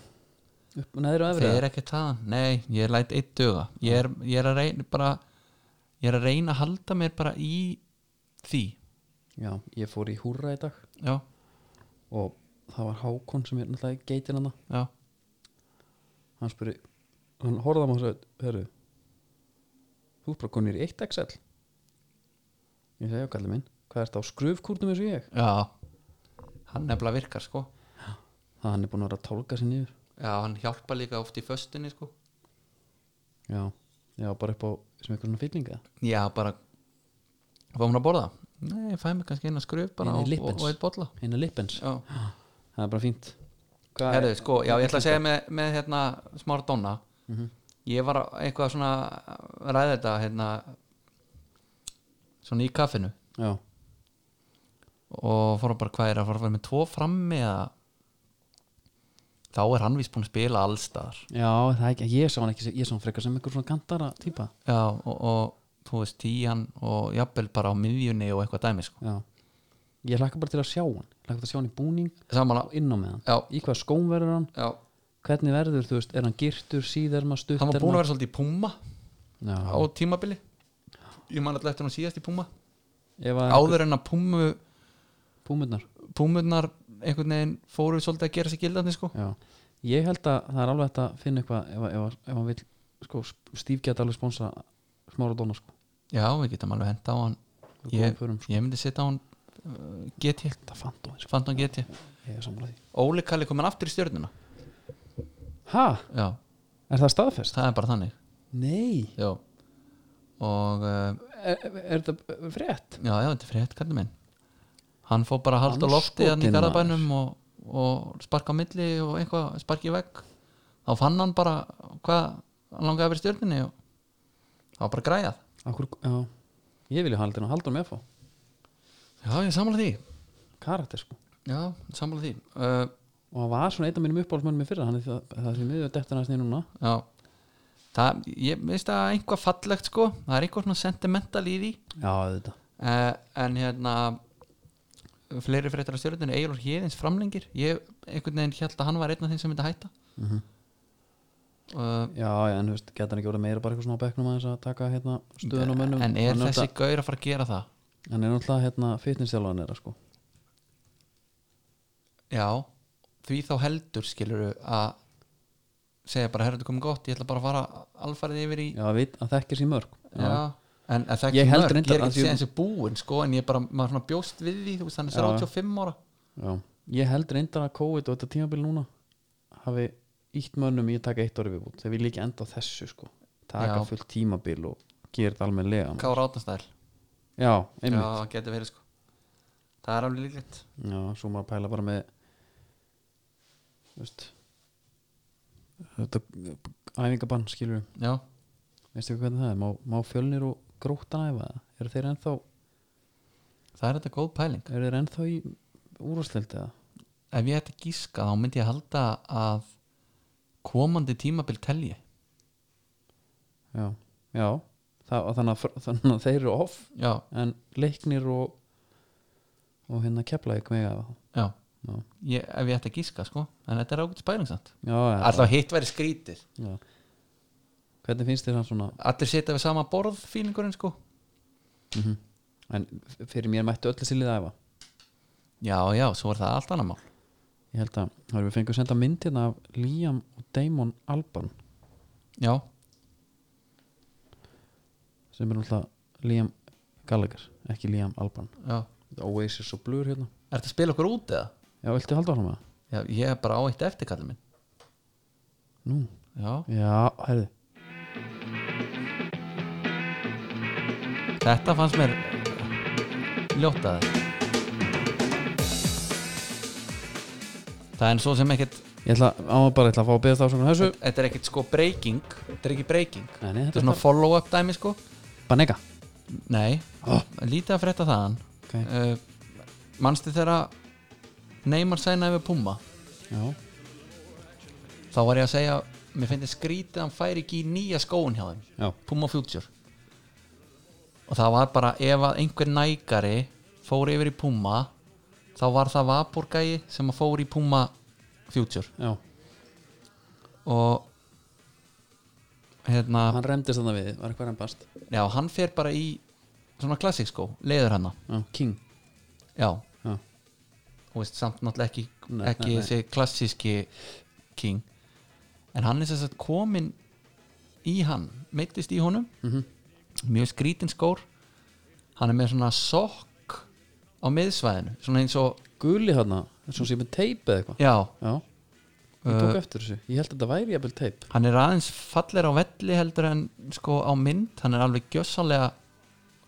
Speaker 1: upp neðri og efri
Speaker 2: þeir
Speaker 1: eða?
Speaker 2: er ekki taðan, nei, ég læt eitt döga ég er, ég er að reyna bara ég er að reyna að halda mér bara í því,
Speaker 1: Já, ég fór í húrra í dag
Speaker 2: já,
Speaker 1: og það var Hákon sem er náttúrulega í geitin hann
Speaker 2: já
Speaker 1: hann spurði hann horfði á mig og sagði, herru þú ert bara konir í 1XL ég segi, já kallið minn hvað er þetta á skröfkúrnum eins og ég
Speaker 2: já, hann nefnilega virkar sko
Speaker 1: það hann er búin að vera að tálka sér niður
Speaker 2: já, hann hjálpa líka oft í föstunni sko
Speaker 1: já, já bara upp á sem eitthvað svona fyllinga
Speaker 2: já, bara fáum hann að borða nei, ég fæ mig kannski eina skröf bara
Speaker 1: Eina
Speaker 2: og, og,
Speaker 1: lippens.
Speaker 2: og eitt bolla
Speaker 1: eina lippens,
Speaker 2: já,
Speaker 1: það er bara fínt hvað
Speaker 2: herðu, sko, já, ég ætla að segja með, með hérna, smára donna Mhm. ég var að- eitthvað svona að ræða þetta hérna svona í kaffinu
Speaker 1: já,
Speaker 2: og fór að bara hvað er að fara að vera með tvo frammi eða þá er hann víst búin að spila allstaðar
Speaker 1: já, það er ekki, ég sá hann ekki sem- ég sá hann frekar sem einhver svona kantara típa
Speaker 2: já og, og þú veist tían og jafnvel bara á miðjunni og eitthvað dæmi sko
Speaker 1: já, ég hlakka bara til að sjá hann hlakka til að sjá hann í búning
Speaker 2: samanlega,
Speaker 1: og inn á með hann,
Speaker 2: já,
Speaker 1: í hvað skóm verður hann
Speaker 2: já
Speaker 1: hvernig verður, þú veist, er hann girtur síðarma,
Speaker 2: hann
Speaker 1: stutterma
Speaker 2: var búin að vera svolítið í Puma
Speaker 1: Já.
Speaker 2: á tímabili ég man alltaf eftir hann síðast í Puma
Speaker 1: ef að
Speaker 2: áður en að Pumu
Speaker 1: púmurnar
Speaker 2: Pumurnar einhvern veginn fóru svolítið að gera sér gildandi sko
Speaker 1: já. ég held að það er alveg hægt að finna eitthvað ef, að- ef, að- ef hann vil sko, Steve geta alveg sponsa smára dóna sko.
Speaker 2: já, við getum alveg henda á hann
Speaker 1: Við
Speaker 2: ég,
Speaker 1: góðum förum, sko.
Speaker 2: ég myndi setja á hann uh, GT,
Speaker 1: það fann þú eins
Speaker 2: fannst hann GT
Speaker 1: ég er samlega því
Speaker 2: Óli Kalli komin aftur í stjörnuna
Speaker 1: ha,
Speaker 2: já,
Speaker 1: er það staðfest?
Speaker 2: það er bara þannig
Speaker 1: nei,
Speaker 2: já. og uh,
Speaker 1: er, er þetta frétt?
Speaker 2: já, já, þetta er frétt kallið minn hann fór bara að halda á lofti hann í
Speaker 1: Andskotinn,
Speaker 2: garðabænum og, og sparka á milli og eitthvað, sparka í vegg þá fann hann bara hvað hann langaði að vera í stjörninni og það var bara græjað
Speaker 1: Akkur, já, ég vilja halda hann og halda hann með að fá
Speaker 2: já, ég samla því
Speaker 1: karakter sko
Speaker 2: já, samla því uh,
Speaker 1: og hann var svona einn af mínum uppáhaldsmönnum í fyrra hann er það, það er því miður að detta hann aðeins niður núna
Speaker 2: já það, ég veist að einhvað fallegt sko það er einhvað svona sentimental í því
Speaker 1: já, þetta
Speaker 2: uh, en hérna fleiri fréttar af stjórnunni Egilur Híðins framlengir ég einhvern veginn held að hann var einn af þeim sem myndi hætta
Speaker 1: Mhm.
Speaker 2: uh,
Speaker 1: Já, já, en þú veist, geta hann ekki orðið meira bara eitthvað svona á bekknum aðeins að taka hérna stöðun á mönnum
Speaker 2: en er
Speaker 1: Hann
Speaker 2: þessi
Speaker 1: náttúrulega-
Speaker 2: gaur að fara að gera það
Speaker 1: Hann er náttúrulega hérna fitnessþjálfan er sko
Speaker 2: já, því þá heldur skiluru að segja bara herrðu komið gott, ég ætla bara að fara alfarið yfir í
Speaker 1: Já, að veit að þekkir sín mörg
Speaker 2: Já, en, en það er
Speaker 1: Ég
Speaker 2: ekki
Speaker 1: held
Speaker 2: mörg,
Speaker 1: reyndar
Speaker 2: ég er
Speaker 1: að
Speaker 2: ekki
Speaker 1: því-
Speaker 2: séð þessi búin sko, en ég bara, maður svona bjóst við því þú veist, hann er
Speaker 1: Já.
Speaker 2: 35 ára
Speaker 1: Já, ég held reyndar að COVID og þetta tímabil núna hafi ítt mönnum í að taka eitt orðið viðbútt þeir vilja ekki enda á þessu sko taka
Speaker 2: Já.
Speaker 1: fullt tímabil og gera þetta almennilega maður.
Speaker 2: Kára Átnastæl,
Speaker 1: Já,
Speaker 2: já,
Speaker 1: einmitt
Speaker 2: það getur verið sko það er alveg líklegt
Speaker 1: Já, svo maður pæla bara með þú veist þetta æfingabann skilur við
Speaker 2: já,
Speaker 1: veistu ekki hvernig það er, má, má fjölnir og gróttan æfa það, eru þeir ennþá
Speaker 2: það er þetta góð pæling
Speaker 1: eru þeir ennþá í úrvarsleild eða
Speaker 2: ef ég ætti að gíska, þá myndi ég halda að komandi tímabil telji
Speaker 1: já, já það, þannig, að, fr- þannig að þeir eru off
Speaker 2: já,
Speaker 1: en leiknir og og hérna kepla ekki mega það
Speaker 2: já,
Speaker 1: já,
Speaker 2: ég, ef ég ætti að gíska sko en þetta er ágætis pæling samt
Speaker 1: já, já,
Speaker 2: alltaf hitt væri skrítið,
Speaker 1: já. hvernig finnst þér hann svona
Speaker 2: allir setja við sama borð fílingurinn sko,
Speaker 1: en f- fyrir mér mættu öll þessi lið að æfa
Speaker 2: já, já, svo er það allt annað mál
Speaker 1: ég held að það eru við fengið að senda mynd hérna af Liam og Damon Alban
Speaker 2: já,
Speaker 1: sem er náttúrulega Liam Gallagher ekki Liam Alban
Speaker 2: já,
Speaker 1: Oasis og Blur hérna
Speaker 2: er þetta að spila okkur út eða?
Speaker 1: já, viltu halda áfram með það?
Speaker 2: Já, ég er bara á eitt eftir kallið minn
Speaker 1: nú,
Speaker 2: Já,
Speaker 1: já, herði
Speaker 2: þetta fannst mér ljótaði Það er svo sem ekkert
Speaker 1: ég ætla á að bara ég ætla að fá að beðast ásökun á þessu
Speaker 2: Þetta er ekkert sko breaking Þetta er ekki breaking
Speaker 1: Nei, nei,
Speaker 2: Þetta
Speaker 1: þetta
Speaker 2: er svona
Speaker 1: er
Speaker 2: follow up dæmi sko
Speaker 1: Banega
Speaker 2: Nei,
Speaker 1: Oh.
Speaker 2: lítið að frétta þaðan
Speaker 1: ok,
Speaker 2: uh, Manstu þegar Neymar sænaði við Puma
Speaker 1: já,
Speaker 2: Þá var ég að segja Mér finnst skrítið að hann færi ekki í nýja skóun hjá þeim
Speaker 1: já,
Speaker 2: Puma Future og það var bara ef að einhver nægari fór yfir í Puma þá var það Vaporgæi sem að fór í Puma Future
Speaker 1: já
Speaker 2: og hérna,
Speaker 1: hann remdist þarna við, var eitthvað rembast
Speaker 2: já, hann fer bara í svona klassik sko, leiður hana
Speaker 1: já, King
Speaker 2: já,
Speaker 1: já,
Speaker 2: þú veist, samt náttúrulega ekki,
Speaker 1: Nei,
Speaker 2: ekki
Speaker 1: nei, nei.
Speaker 2: þessi klassíski king en hann er sem sagt komin í hann, meittist í honum
Speaker 1: Mhm.
Speaker 2: mjög skrítin skór hann er með svona sokk á miðsvæðinu, svona eins og
Speaker 1: guli þarna, svona sem er teip eða eitthvað
Speaker 2: já, uh,
Speaker 1: já, ég tók eftir þessu ég held að þetta væri jafnvel teip
Speaker 2: hann er aðeins fallir á velli heldur en sko á mynd hann er alveg gjössalega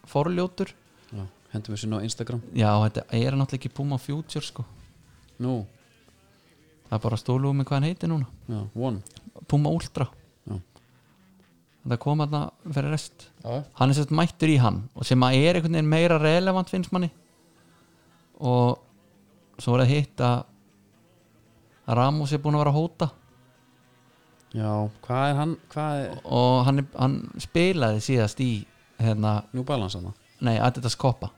Speaker 2: forljótur
Speaker 1: já, hendum við sinna á Instagram
Speaker 2: já, þetta er náttúrulega ekki Puma Future sko
Speaker 1: nú,
Speaker 2: það er bara stólu um mig hvað hann heitir núna
Speaker 1: já, one
Speaker 2: Puma Ultra
Speaker 1: Já.
Speaker 2: þetta kom aðna fyrir rest
Speaker 1: já,
Speaker 2: hann er sett mættur í hann og sem að er einhvern veginn meira relevant finnst manni og svo er það hitt að að Ramos er búin að vera að hóta
Speaker 1: já hvað er hann, hvað er
Speaker 2: og hann, er- hann spilaði síðast í hérna,
Speaker 1: New Balance þarna
Speaker 2: nei, Adidas Copa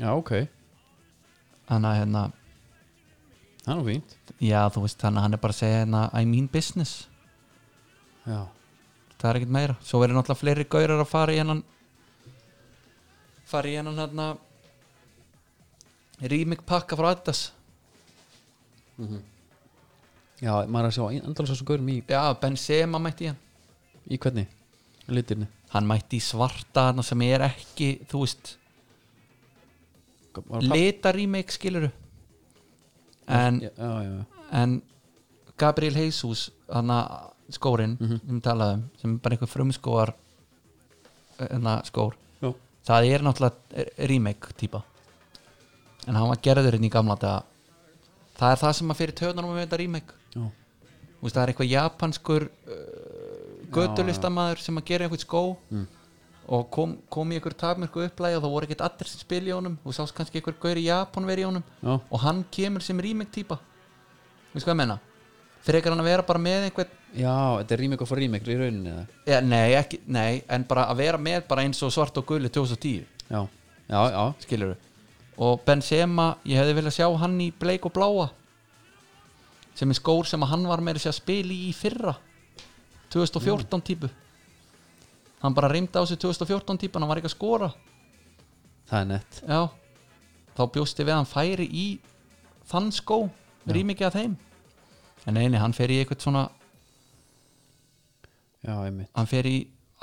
Speaker 1: já, ok,
Speaker 2: þannig að hérna,
Speaker 1: það er nú fínt
Speaker 2: já þú veist þannig að hann er bara að segja hérna, I mean business
Speaker 1: já,
Speaker 2: það er ekkert meira, svo verður náttúrulega fleiri gaurar að fara í hennan fara í hennan hérna rýmik pakka frá Adidas
Speaker 1: já, maður er að sjá endalins þessu gaurum í,
Speaker 2: já, Benzema mætti í hann
Speaker 1: í hvernig litirni,
Speaker 2: hann mætti í svarta þarna sem er ekki, þú veist
Speaker 1: var að
Speaker 2: litarýmik skiluru en,
Speaker 1: já, já, já, já.
Speaker 2: en Gabriel Jesus hann skórin mm
Speaker 1: Mhm.
Speaker 2: -hmm. um talaðum sem er bara einhver frumskóar hérna skór
Speaker 1: já.
Speaker 2: það er náttúrulega remake típa en hann var gerðurinn í gamla daga það er það sem að fyrir töðunum með þetta remake
Speaker 1: já.
Speaker 2: Þú veist, það er eitthvað japanskur uh, götulistamaður sem að gera einhvern skó og kom, kom í einhver tapmörku upplægi og það voru ekkert allir sem spila í honum og sást kannski einhver gaur í Japan verið í honum
Speaker 1: Já.
Speaker 2: og hann kemur sem remake típa veist hvað ég menna frekar hann að vera bara með einhvern
Speaker 1: já, þetta er rýmik og fór rýmik í rauninni eða
Speaker 2: ja, nei, ekki, nei, en bara að vera með bara eins og svart og gulli 2010
Speaker 1: já, já, já, já,
Speaker 2: skilur og Benzema, ég hefði viljað sjá hann í bleik og bláa sem er skór sem að hann var meira sér að spila í í fyrra 2014 típu hann bara reymdi á sig 2014 típan, hann var ekki að skora
Speaker 1: það er nett
Speaker 2: já, þá bjósti við að hann færi í þann skó rýmikið að þeim en eini, hann fer í eitthvað svona
Speaker 1: já, einmitt,
Speaker 2: hann fer í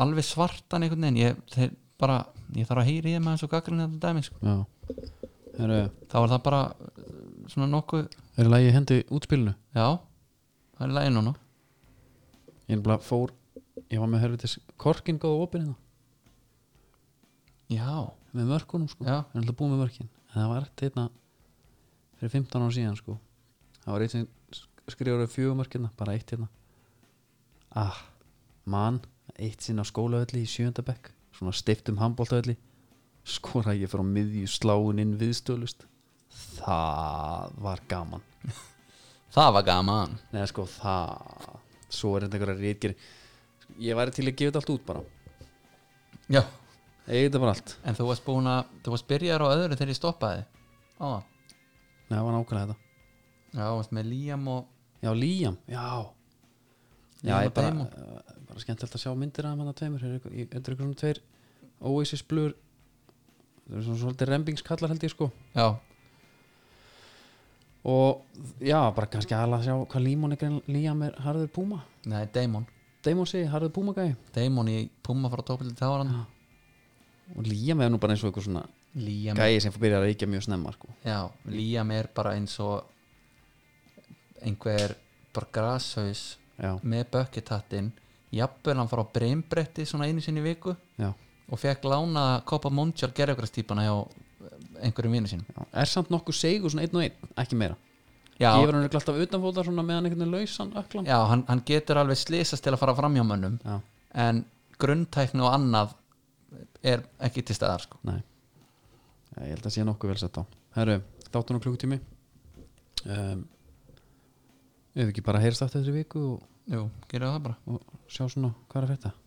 Speaker 2: alveg svartan einhvern veginn ég, þeir, bara, ég þarf að heyri ég með hans og gaggrinn þetta dæmi sko.
Speaker 1: já Heru,
Speaker 2: þá er það bara eh, svona nokkuð
Speaker 1: er lægi hendi útspilinu
Speaker 2: já, það er lægin núna
Speaker 1: ég er bara fór, ég var með helvitis korkin góða opinn hérna,
Speaker 2: já,
Speaker 1: með mörkunum sko,
Speaker 2: Já.
Speaker 1: ég er alltaf búið með mörkin en það var eitt hérna fyrir 15 ára síðan sko það var eitt sem skrifaði fjögur mörkina bara eitt hérna ah, mann, eitt sinn á skólavelli í sjöndabekk, svona stiftum handbóltavelli skora ég frá miðju sláin inn viðstölust það var gaman
Speaker 2: það var gaman
Speaker 1: Nei, sko, það Svo er þetta einhverja rítgerð Ég væri til að gefa þetta allt út bara
Speaker 2: já.
Speaker 1: Eigi þetta bara allt
Speaker 2: en þú varst búin að, þú varst byrjar á öðru þegar ég stoppaði á,
Speaker 1: Nei, það var nákvæmlega þetta
Speaker 2: já, þú varst með Liam og
Speaker 1: Já, Líam, já Já,
Speaker 2: Liam
Speaker 1: ég
Speaker 2: og
Speaker 1: bara,
Speaker 2: Damon.
Speaker 1: uh, bara skemmtilegt að sjá myndir af hann að tveimur Þetta er eitthvað svona tveir Oasis blur Það er svona svolítið rembingskallar held ég sko
Speaker 2: já,
Speaker 1: Og já, bara kannski aðla að sjá hvað Límon er grein Líam er harður púma
Speaker 2: nei, Damon
Speaker 1: Damon segi harður púma gæði
Speaker 2: Damon í Puma frá tópildi þá var hann
Speaker 1: Og Líam er nú bara eins og eitthvað svona
Speaker 2: Liam,
Speaker 1: Gæði sem byrjar að reykja mjög snemma sko
Speaker 2: já, Liam er bara eins og einhver bara grashaus
Speaker 1: Já,
Speaker 2: með bökkitattinn jafnvel hann fór á breymbretti svona einu sinni í viku
Speaker 1: já
Speaker 2: og fekk lána Copa Mondial gerðugræstýpana hjá einhverjum vinnu sínum
Speaker 1: Já, er samt nokkuð segur svona einn og einn, ekki meira
Speaker 2: já,
Speaker 1: ég var hann alltaf utanfóta svona meðan einhvern veginn lausan öklan
Speaker 2: já hann, hann getur alveg slisast til að fara fram hjá mönnum
Speaker 1: já,
Speaker 2: en grunntækni og annað er ekki til staðar sko.
Speaker 1: nei Já, ég held að sé nokkuð vel sett á herru, þáttun og klukkutími um, ef ekki bara heyrst aftur þessari viku og,
Speaker 2: Jú, gerðu það bara
Speaker 1: og sjá svona hvað er að frétta